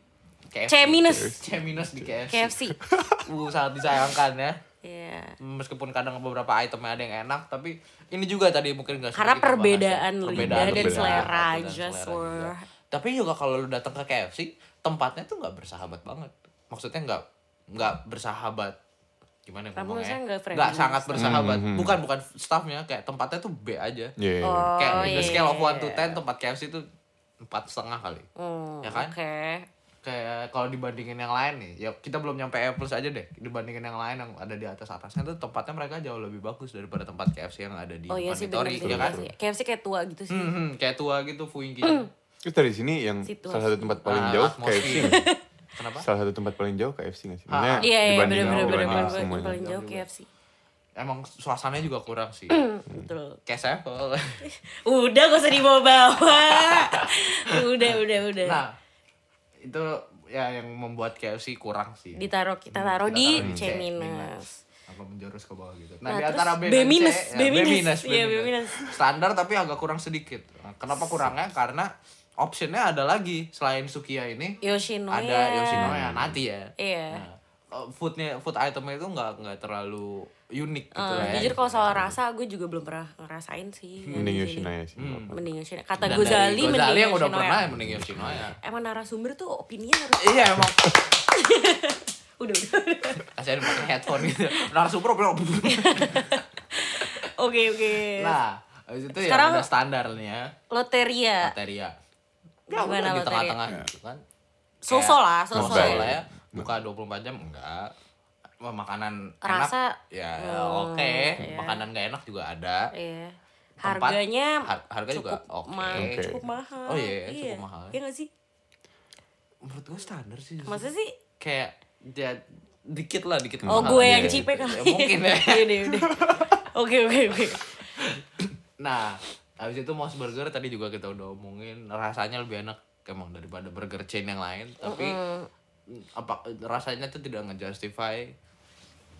KFC. C minus. C minus di KFC. KFC. Uh, sangat disayangkan ya. Iya. Meskipun kadang beberapa itemnya ada yang enak, tapi ini juga tadi mungkin gak Karena perbedaan lidah dan selera aja, juga. Sur. iya. Tapi juga kalau lu datang ke KFC, tempatnya tuh nggak bersahabat banget. Maksudnya nggak nggak bersahabat gimana Kamu ngomongnya? maksudnya nggak friendly? Mm-hmm. Nggak sangat bersahabat. Bukan bukan staffnya, kayak tempatnya tuh B aja. Iya. iya, iya. Kayak Oh, in iya. the scale of 1 to 10 tempat KFC tuh empat setengah kali. Hmm, Ya kan? Oke. Kayak kalau dibandingin yang lain nih, ya kita belum nyampe A plus aja deh. Dibandingin yang lain yang ada di atas atasnya tuh tempatnya mereka jauh lebih bagus daripada tempat KFC yang ada di Oh iya sih bener Monitori, sih. Hmm. ya kan? KFC. KFC kayak tua gitu sih. Hmm, hmm, kayak tua gitu fuingki. Terus dari sini yang Situasi. salah satu tempat paling Ah, jauh atmosfer. KFC. nggak? [laughs] Kenapa? Salah satu tempat paling jauh KFC nggak sih? Ah, Maksudnya ah. Iya iya dibanding- bener-bener dibanding bener-bener semuanya. paling jauh KFC. Hmm. Emang suasananya juga kurang sih. Hmm. Betul. kayak [laughs] sevel. Udah gak usah dibawa-bawa. udah udah udah. nah, itu ya yang membuat KFC kurang sih. Ditaruh kita taruh Kita di taruh di C C minus. Apa menjurus ke bawah gitu. Nah, Nah, di terus antara B, B dan C, minus, ya, B minus. B Iya, B minus. minus. Standar tapi agak kurang sedikit. Nah, Kenapa kurangnya? Karena optionnya ada lagi selain Sukiya ini Yoshinoya. ada Yoshinoya nanti ya. Iya. Nah, eh, foodnya food itemnya itu nggak nggak terlalu unik gitu Eh, lah ya. jujur kalau soal rasa gue juga belum pernah ngerasain sih. Mending Di sini. Yoshinoya sih. Hmm. Mending Yoshinoya. Kata Dan dari Gozali Gozali mending yang udah Yoshinoya. pernah ya, mending Yoshinoya. Emang narasumber tuh opini harus Iya emang udah udah. [laughs] udah. kasihan pakai headphone gitu. Narasumber [laughs] bilang Oke oke. Nah, habis itu Sekarang- ya udah standarnya ya. Loteria. Materia. Ya, Gimana udah di loteria? tengah-tengah gitu kan. Soso Kayak lah, soso. soso lah ya. ya. Buka 24 jam enggak. Wah, makanan Rasa- enak ya Hmm, oke, iya. makanan gak enak juga ada. Iya. Tempat, Harganya har- harga juga cukup oke. ma- Oke. cukup mahal. Oh iya, cukup mahal. Iya gak sih? Menurut gue standar sih. justru. Maksudnya sih kayak ya, dikit lah, dikit Oh mahal. gue Iya, yang iya. cipe kali. Ya, Mungkin [laughs] ya. [laughs] Iya deh, udah. Oke oke oke. Nah, habis itu Mos Burger tadi juga kita udah omongin rasanya lebih enak emang daripada burger chain yang lain, tapi Hmm. [laughs] apa rasanya tuh tidak ngejustify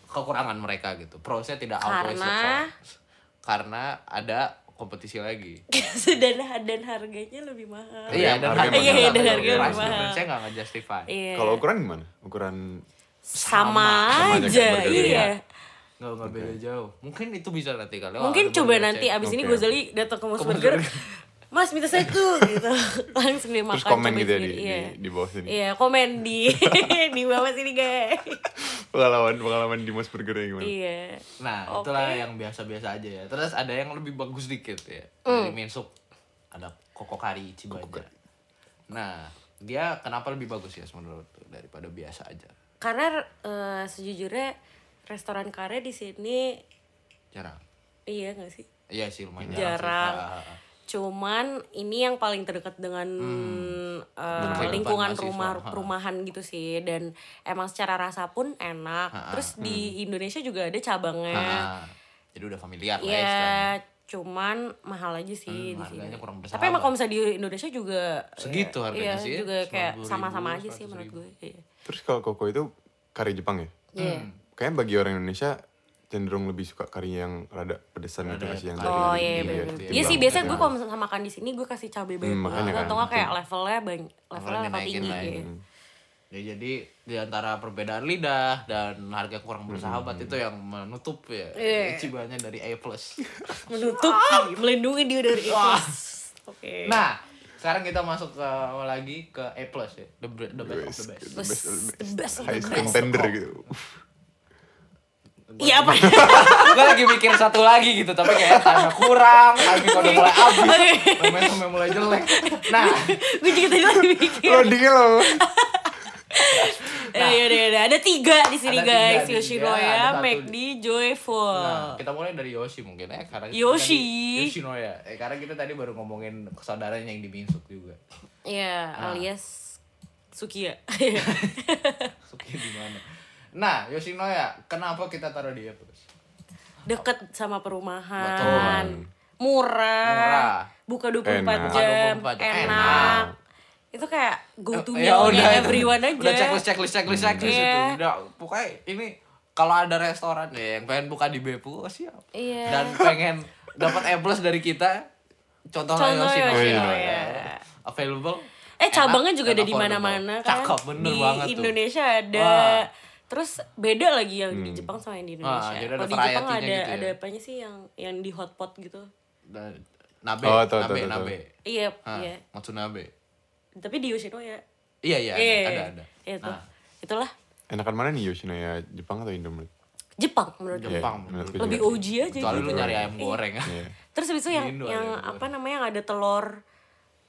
kekurangan mereka gitu. Prosesnya tidak outweighs the Karena? cost. Karena ada kompetisi lagi. dan dan harganya lebih mahal. Iya, Harga- dan harga harganya mahal. Iya, nggak dan ada harganya price mahal. difference-nya nggak ngejustify. Iya. Kalau ukuran gimana? Ukuran sama, Sama aja aja, kayak burger iya. ya. Nggak, nggak beda jauh. Mungkin itu bisa nanti kali. Oh, Mungkin ada coba burger nanti chain. abis ini Oke, Gozali datang ke Mos Ke Mos Burger. Burger. [laughs] Mas minta satu gitu [laughs] langsung dia makan Terus komen cobain gitu ya di, sendiri. di, Iya. di bawah sini. Iya komen di [laughs] di bawah sini guys. [laughs] Pengalaman pengalaman Dimas Burger yang gimana? Iya. Nah, Oke. itulah yang biasa-biasa aja ya. Terus ada yang lebih bagus dikit ya. Hmm. Dari main soup ada kokokari Cibaja. Nah, dia kenapa lebih bagus ya menurut lu daripada biasa aja? Karena eh, sejujurnya restoran kare di sini Jarang. iya nggak sih? Iya sih lumayan Jarang. sih. Ah, ah, ah. Cuman ini yang paling terdekat dengan eh, Hmm. Kehidupan lingkungan mahasiswa, rumah ha. rumahan gitu sih dan emang secara rasa pun enak. Terus Hmm. di Indonesia juga ada cabangnya. Ah, Jadi udah familiar lah ya. istilahnya. Iya, cuman mahal aja sih di Hmm, sini. harganya kurang Tapi emang bersahabat. kalau misalnya di Indonesia juga Segitu ya, harganya iya, sih ya, Juga kayak 90.000, sama-sama aja sih menurut 100.000. gue. Iya. Terus kalau koko itu kari Jepang ya? Iya. Kayaknya bagi orang Indonesia cenderung lebih suka kari yang rada pedesan gitu nggak sih yang dari Oh iya, Iya, bener-bener. betul. Iya sih timbang. biasanya gue kalau misalnya makan di sini gue kasih cabai banyak Hmm, makanya banget kan, atau nggak kayak betul. levelnya bang levelnya Levelnya bakal dinaikin tinggi. lah ya. iya. Ya, jadi di antara perbedaan lidah dan harga yang kurang bersahabat itu yang menutup ya Iya. cibanya dari A+. Menutup, melindungi dia dari itu. Wah. Oke. Nah, sekarang kita masuk ke lagi ke A+ ya. The, be- the best of the The best. gitu. best of the best. Highest contender [laughs] gitu. Iya apa? gue lagi mikir satu lagi gitu tapi kayak time kurang tapi udah mulai habis momentum mulai jelek nah gue juga tadi lagi mikir. Oh, Loadingnya loh. Eh, yaudah, yaudah. Ada tiga di sini Ada tiga, guys. ada tiga, ada Yoshinoya, satu. McD, Joyful. nah, kita mulai dari Yoshi mungkin ya karena kita Eh, Yoshi. tadi- Yoshinoya eh, karena kita tadi baru ngomongin saudaranya yang di Binsuk juga [laughs] Iya, Nah. alias Sukiya. [laughs] Suki di mana nah Yoshinoya kenapa kita taruh dia terus Deket sama perumahan. Betul. Murah. Murah. Buka 24 Enak. jam. Buka Enak. 24 jam. Enak. Itu kayak go to ya udah meal-nya itu. everyone aja. udah checklist checklist checklist checklist Iya. itu udah pokoknya ini kalau ada restoran ya yang pengen buka di Bepu oh, siap Iya. dan pengen dapat A plus dari kita contohnya Contoh Yoshino, Yoshino, ya. ya. available Eh cabangnya enak, juga dan ada di affordable. mana-mana kan. cakep bener di banget tuh Indonesia ada. Wah. Hmm. Terus beda lagi yang di Jepang sama yang di Indonesia. jadi ada Kalau di Jepang ada variety-nya gitu ya. ada apanya sih yang yang di hotpot gitu. Dan nabe Oh, tahu, nabe tahu, tahu, nabe Iya, Ah, iya. Matsunabe Tapi di Yoshinoya. iya iya ada Iya, ada, ada. Itu. Nah, Itulah Enakan mana nih Yoshinoya Jepang atau [laughs] Indomie? Jepang menurut gue. Jepang Iya, menurutku Lebih juga. OG aja. kecuali lu gitu. nyari ayam goreng Iya. Terus habis itu yang Indo ada yang yang apa namanya yang ada telur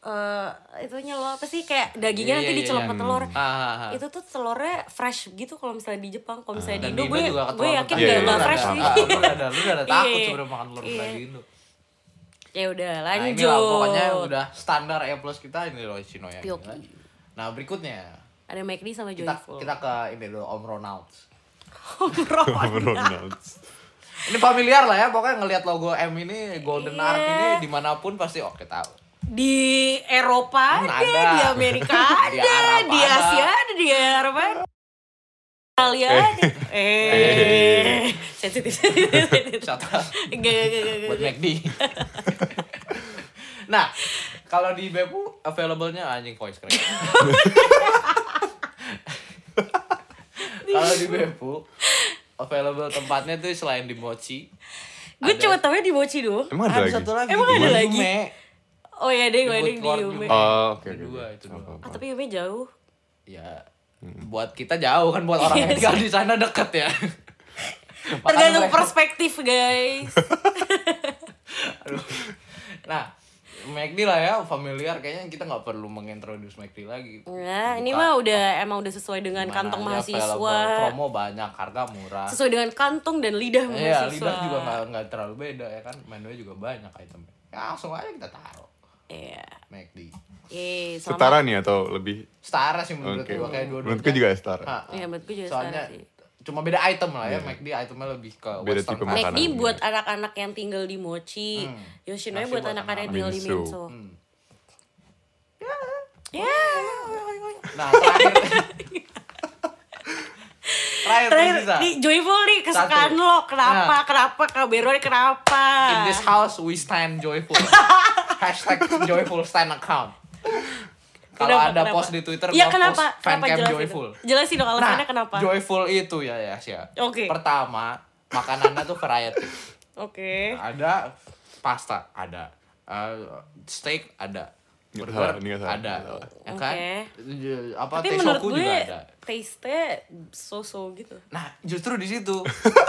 eh itunya lo apa sih kayak dagingnya Iya, nanti iya, dicelup iya. ke telur. Ah, ah, ah. Itu tuh telurnya fresh gitu kalau misalnya di Jepang, kalau misalnya di Indo Dan Indo gue juga gue ketularan yakin gak, tadi. gak Iya, iya, fresh iya. sih. Ah, lu udah ada- lu udah ada [laughs] takut Iya. sebenarnya makan telur Iya. dari Indo Ya udah Nah, lanjut. ini lah pokoknya udah standar A plus kita ini loh Yoshinoya. Oke, oke. Nah, berikutnya Ada McD sama kita Joyful. kita ke ini dulu Om Ronald. [laughs] Bro. Ronalds. Ini familiar lah ya, pokoknya ngelihat logo M ini Golden Iya. Arc ini dimanapun pasti oke tahu. Di Eropa Hmm, ada, ada. di Amerika [laughs] Di ada, Arab di ada. Asia ada, di Eropa ada. Australia ada. Eh, sensitif, sensitif, sensitif. Shout out Enggak, enggak, enggak, enggak. buat McD. Iya, [laughs] nah, kalau di Bepu available-nya anjing voice [laughs] keren. kalau di Bepu available tempatnya tuh selain di Mochi Gue Ada. cuma tau di Mochi doang. Emang ada lagi? satu lagi Emang di ada Yume. lagi? Oh iya, ada yang Di wedding di Woodward Yume. juga. Oh, oke. Ada oke, dua, oke. itu dua. Apa-apa. Ah, tapi Yume jauh. ya buat kita jauh kan buat orang yang tinggal di sana [laughs] deket ya Makanya Tergantung mereka- perspektif, [laughs] guys. Aduh. nah McD lah ya familiar kayaknya kita nggak perlu mengintroduce McD lagi Nah, ini Buka mah udah emang udah sesuai dengan mana kantong aja, mahasiswa. available. promo banyak harga murah Sesuai dengan kantong dan lidah Iya, mahasiswa. lidah juga nggak nggak terlalu beda ya kan menunya juga banyak itemnya ya, langsung aja kita taruh Iya. McD Yeay, sama. Setara nih atau lebih? setara sih menurut Oke. gua kayak dua-duanya Menurutku juga setara. Ah, ah. Iya, menurutku juga soalnya setara sih. cuma beda item lah ya McD itemnya lebih ke Iya. Beda western tipe kan. makanan. McD buat anak-anak yang tinggal di Mochi, Yoshinoya buat Masih Hmm. buat anak-anak yang tinggal di anak-anak. Minso. Hmm. Ya. Nah, [laughs] terakhir. terakhir, Terakhir, Lisa. nih, joyful nih kesukaan Satu. lo. Nah. Kenapa? Kenapa? Kaberoi kenapa? In this house we stand [laughs] joyful. Hashtag joyful stand account. Kalau Kenapa, ada kenapa? post di Twitter, Iya gua kenapa? post fancam jelasin joyful. Nah, dong. Jelasin dong alasannya kenapa. joyful itu ya ya sih. Oke. Pertama, makanannya tuh variety. Oke. Ada pasta, ada uh, steak ada Nggak burger salah, ini nggak salah, ada nggak salah. ya kan Oke. J- apa Tapi menurut teisoku juga gue ada taste-nya so-so gitu. nah justru di situ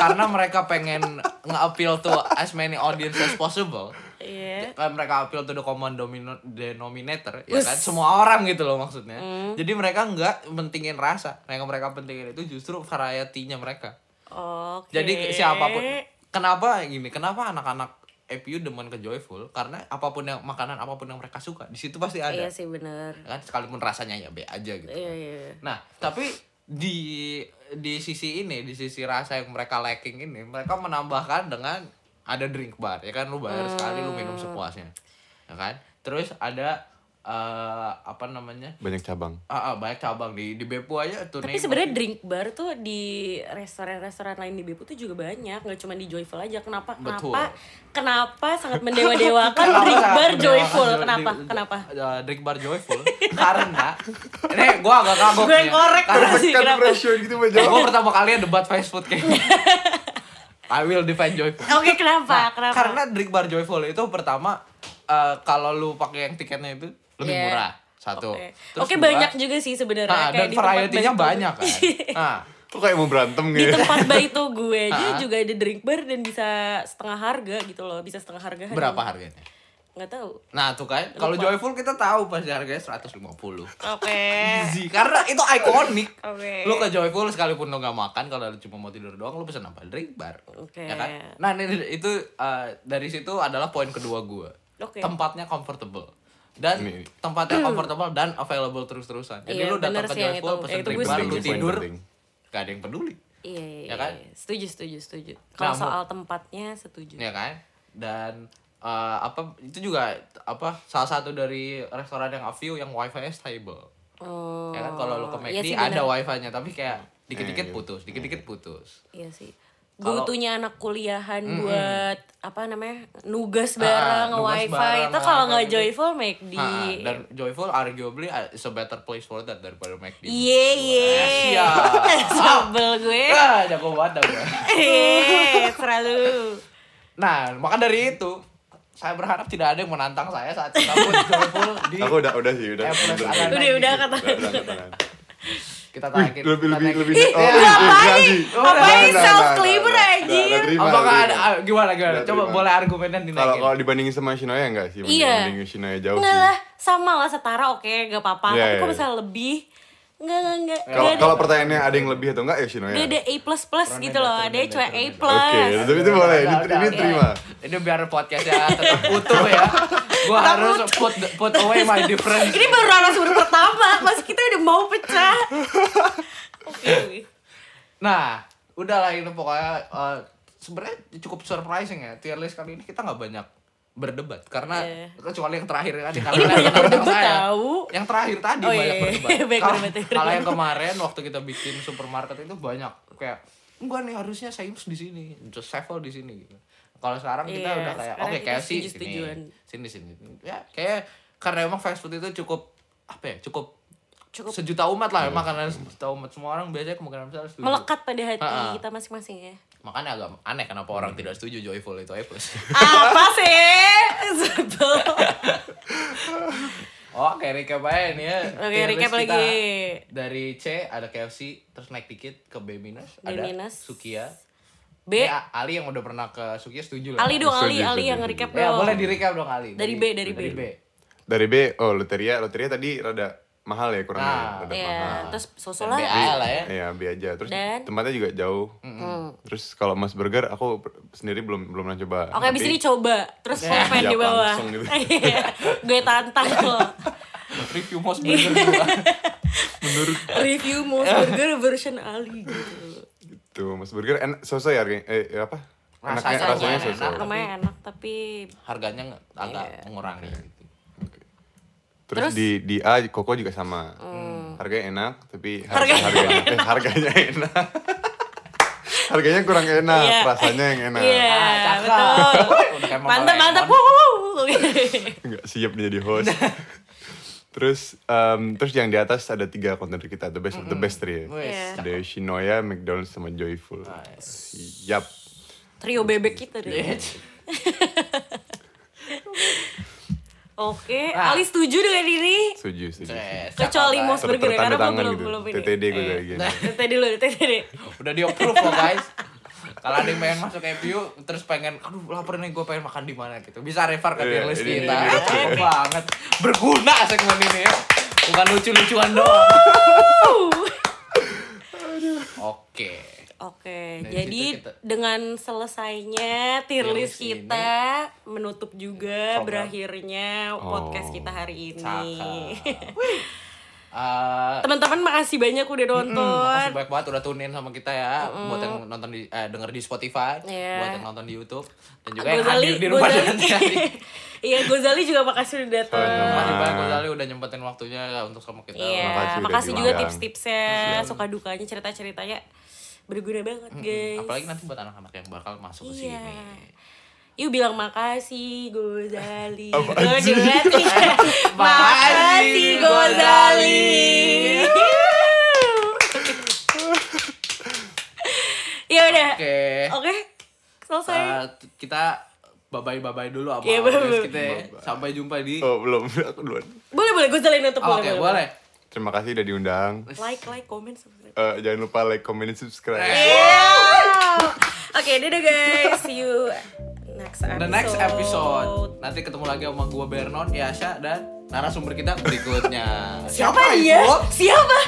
karena mereka pengen nge-appeal to as many audience as possible Iya. kan mereka appeal to the common domino- denominator ya Us. kan semua orang gitu loh maksudnya Hmm. jadi mereka nggak pentingin rasa mereka mereka pentingin itu justru varietinya mereka Oke. jadi siapapun kenapa gini kenapa anak-anak EPU demen ke joyful karena apapun yang makanan apapun yang mereka suka di situ pasti Iya ada sih bener. kan sekalipun rasanya ya be aja gitu Iya iya. iya. Nah, tapi di di sisi ini, di sisi rasa yang mereka lacking ini, mereka menambahkan dengan ada drink bar, ya kan lu bayar sekali lu Hmm. minum sepuasnya. Ya kan? Terus ada eh, apa namanya? banyak cabang Ah, ah, banyak cabang di di Bepu aja tuh Tapi sebenarnya drink bar tuh di restoran-restoran lain di Bepu tuh juga banyak, nggak cuma di Joyful aja. Kenapa? Betul. Kenapa? Kenapa [laughs] sangat mendewa-dewakan drink Kan bar Joyful? Kenapa? Kenapa? drink bar joyful karena ini gua agak kagok. Gue nih. ya. korek Karena- terus sih, kan kenapa? pressure gitu Mbak Jo. gue pertama kali ya debat fast food kayaknya. I will defend joyful. Oke, kenapa? Nah, Kenapa? Karena drink bar joyful itu pertama eh, kalau lu pakai yang tiketnya itu lebih Iya. murah satu. Oke, Terus Oke, kedua, banyak juga sih sebenarnya Nah, kayak dan di Iya. tempat varietinya Baito- banyak [laughs] kan. Nah, kok kayak mau berantem di gitu tempat Baito gue aja Ah. juga ada drink bar dan bisa setengah harga gitu loh, bisa setengah harga. Nah, berapa harganya? Nggak tahu. Nah, tuh kan kalau joyful kita tahu pasti harganya 150. Oke. Easy, karena itu ikonik. Oke. Lu ke Joyful sekalipun lu gak makan kalau lu cuma mau tidur doang lu pesen apa? Drink bar. Oke. Ya kan? Nah, ini- itu eh, dari situ adalah poin kedua gua. Oke. Tempatnya comfortable. Dan Ini- tempatnya comfortable dan available terus-terusan. Jadi Iya, lu bener datang ke sih yang Joyful itu. pesen Itu drink gue bar, setuju lu sih. Poin tidur. penting. Gak ada yang peduli. Iya, iya, Ya kan? iya. Setuju, setuju, setuju. Kalau Nah, mu- soal tempatnya setuju. ya kan dan eh, apa itu juga apa salah satu dari restoran yang a few yang wifi nya stable Oh. ya kan kalau lu ke iya McD sih, ada bener. wifi nya tapi kayak Eh, iya. dikit-dikit putus dikit-dikit putus Iya sih. Kalau- Butuhnya anak kuliahan buat apa namanya? nugas bareng, Ah, nugas wifi. bareng, Itu kalau wifi nggak gitu. joyful make di Ah, dan Joyful arguably uh, is a better place for that daripada McD. Iye, iye. [laughs] Eh, siap. Sebel gue. Ah, jago banget dah gue. Eh, selalu. Nah, maka dari itu saya berharap tidak ada yang menantang saya saat kita pun Joyful di aku udah udah sih udah Eh, plus Udah, ada- udah, Udah, udah kan? kata. udah, angkat tangan. kita Wih, tagih. lebih kita lebih tagih. lebih Ih, oh, udah, ih, apaan jadi. nih? Oh, udah, Apaan udah, udah, self-cleaver, udah, udah, anjir? udah, terima, Apakah terima. ada ah, gimana gimana? Udah, Coba terima. boleh argumennya kalau kalau dinaikin. dibandingin sama Shinoya enggak sih Iya. mending Shinoya jauh Enggak sih lah, sama lah setara oke, nggak apa-apa. Iya, Tapi kok iya. misalnya lebih? Enggak, enggak, enggak. kalau Nggak ada- kalau pertanyaannya ada yang lebih atau enggak ya Shinoya Dia ada A++ gitu loh, Turunin, ada turunin, cuma A+. turunin. oke tapi itu Udah, boleh udah, ini udah, ini udah. terima Ini biar podcastnya tetap utuh [laughs] ya. Gua harus put put away my difference. Ini baru anak sumber pertama, mas kita udah mau [laughs] pecah. Oke. Nah, udahlah itu pokoknya eh, sebenarnya cukup surprising ya tier list kali ini kita nggak banyak berdebat karena Iya. kecuali yang terakhir tadi Ini banyak yang berdebat saya. tahu. Yang terakhir tadi Oh, banyak iya, iya. berdebat. Banyak Kalau- berdebat. Kalau yang kemarin waktu kita bikin supermarket itu banyak kayak enggak nih harusnya Saims di sini, just Sevel di sini gitu. Kalau sekarang kita Iya, udah kayak sekarang oke kita kayak KFC sini, setuju-setujuan. sini sini. Ya kayak karena emang fast food itu cukup apa ya? Cukup Cukup sejuta umat lah makanan sejuta umat semua orang biasanya kemungkinan besar Hmm. setuju melekat pada hati Ah, Ha-ha. kita masing-masing ya. makanya agak aneh kenapa orang tidak setuju joyful itu A plus Apa sih? Sebel. [laughs] oh kayak recap aja nih ya Oke, Tier list recap kita lagi. dari C ada KFC terus naik dikit ke B minus B ada minus. Sukia B, Ini A- Ali yang udah pernah ke Sukia setuju lah Ali dong, Ali, Ya, Setuju, Ali setuju. yang recap ya dong. boleh di recap dong Ali Dari B, dari B. dari B oh loteria loteria tadi rada mahal ya kurang Nah, rada mahal Iya, terus Dan sosolah. BA lah ya Iya, B aja. Terus Dan? tempatnya juga jauh. Terus kalau Mas Burger aku per- sendiri belum belum pernah coba. Oke, abis Tapi ini coba. Terus komen siap di bawah. Iya, langsung gitu. [laughs] Iya, gue tantang lo. review most gitu burger juga Review Mos Burger version Ali gitu. gitu, Mas Burger en soso ya harganya? eh ya apa? Rasanya Enaknya- rasanya enak. soso. Rumahnya enak tapi [laughs] harganya nggak- agak Iya. mengurangi gitu. Terus, di di A Koko juga sama. Harganya enak, tapi har- Harganya harganya eh, harganya enak. [laughs] harganya kurang enak, Iya. rasanya yang enak. Iya, Ah, cakep. betul. Udah kayak Mama Mantap, Lemon. mantap. wuhu. [laughs] Nggak siap dia jadi host. [laughs] terus em, terus yang di atas ada tiga kontainer kita, the best of the best three. Ya. Wes, Iya. Ada Shinoya, McDonald's sama Joyful. Siap. Trio bebek kita deh. Bitch. [laughs] Oke, Ah. Ali setuju dengan ini? Setuju, setuju. setuju. Cek, Kecuali cakep, Mos guys. Ter- Burger ya, tertanda karena gue tangan belum gitu. belum ini. Nah, TTD gue tadi gini. TTD dulu, [laughs] TTD. Nah, Udah di approve loh guys. Kalau ada yang pengen masuk EPU terus pengen, aduh lapar nih gue pengen makan di mana gitu. Bisa refer ke tier Iya, list ini- kita. ini- ini- Cakep banget. Berguna segmen ini ya. Bukan lucu-lucuan doang. Oke. Oke, Dari jadi situ kita- dengan selesainya tier Tier list list ini, kita menutup juga program. berakhirnya podcast Oh, kita hari ini. Cakep. Eh, Teman-teman makasih banyak udah nonton. Makasih banyak banget udah tune in sama kita ya buat yang nonton di eh, denger di Spotify, Iya. buat yang nonton di YouTube dan juga yang Gozali, hadir di rumah Gozali. dan [laughs] tadi. Iya, Gozali juga makasih udah datang. Sama-sama. Makasih banyak Gozali udah nyempetin waktunya ya untuk sama kita. Iya, Makasih udah makasih juga diundang. tips-tipsnya, suka dukanya, cerita-ceritanya berguna banget, guys. Apalagi nanti buat anak-anak yang bakal masuk ke Iya. sini. Yuk bilang makasih Gozali. Apa Tuh, sih? dilihat nih. makasih Makasih, Gozali. [laughs] ya udah. Oke. Oke. Selesai. Eh, kita babai-babai dulu sama Iya, audiens bye-bye. kita. ya. Sampai jumpa di Oh, belum. [laughs] Aku duluan. boleh boleh Gozali nutup Oh, Oke, boleh, boleh. Terima kasih udah diundang. Like like comment subscribe. Eh, jangan lupa like, comment, dan subscribe. Oke, dadah guys. See you next episode. The next episode. Nanti ketemu lagi sama gua Bernon, Yasha dan narasumber kita berikutnya. [laughs] Siapa itu? dia? Siapa?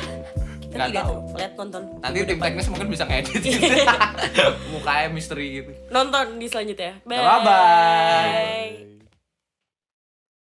Kita Nggak tidak tahu. tahu. Lihat nonton. Nanti tim teknis mungkin bisa Iya. ngedit. [laughs] Mukanya misteri gitu. Nonton di selanjutnya. Bye. Bye-bye.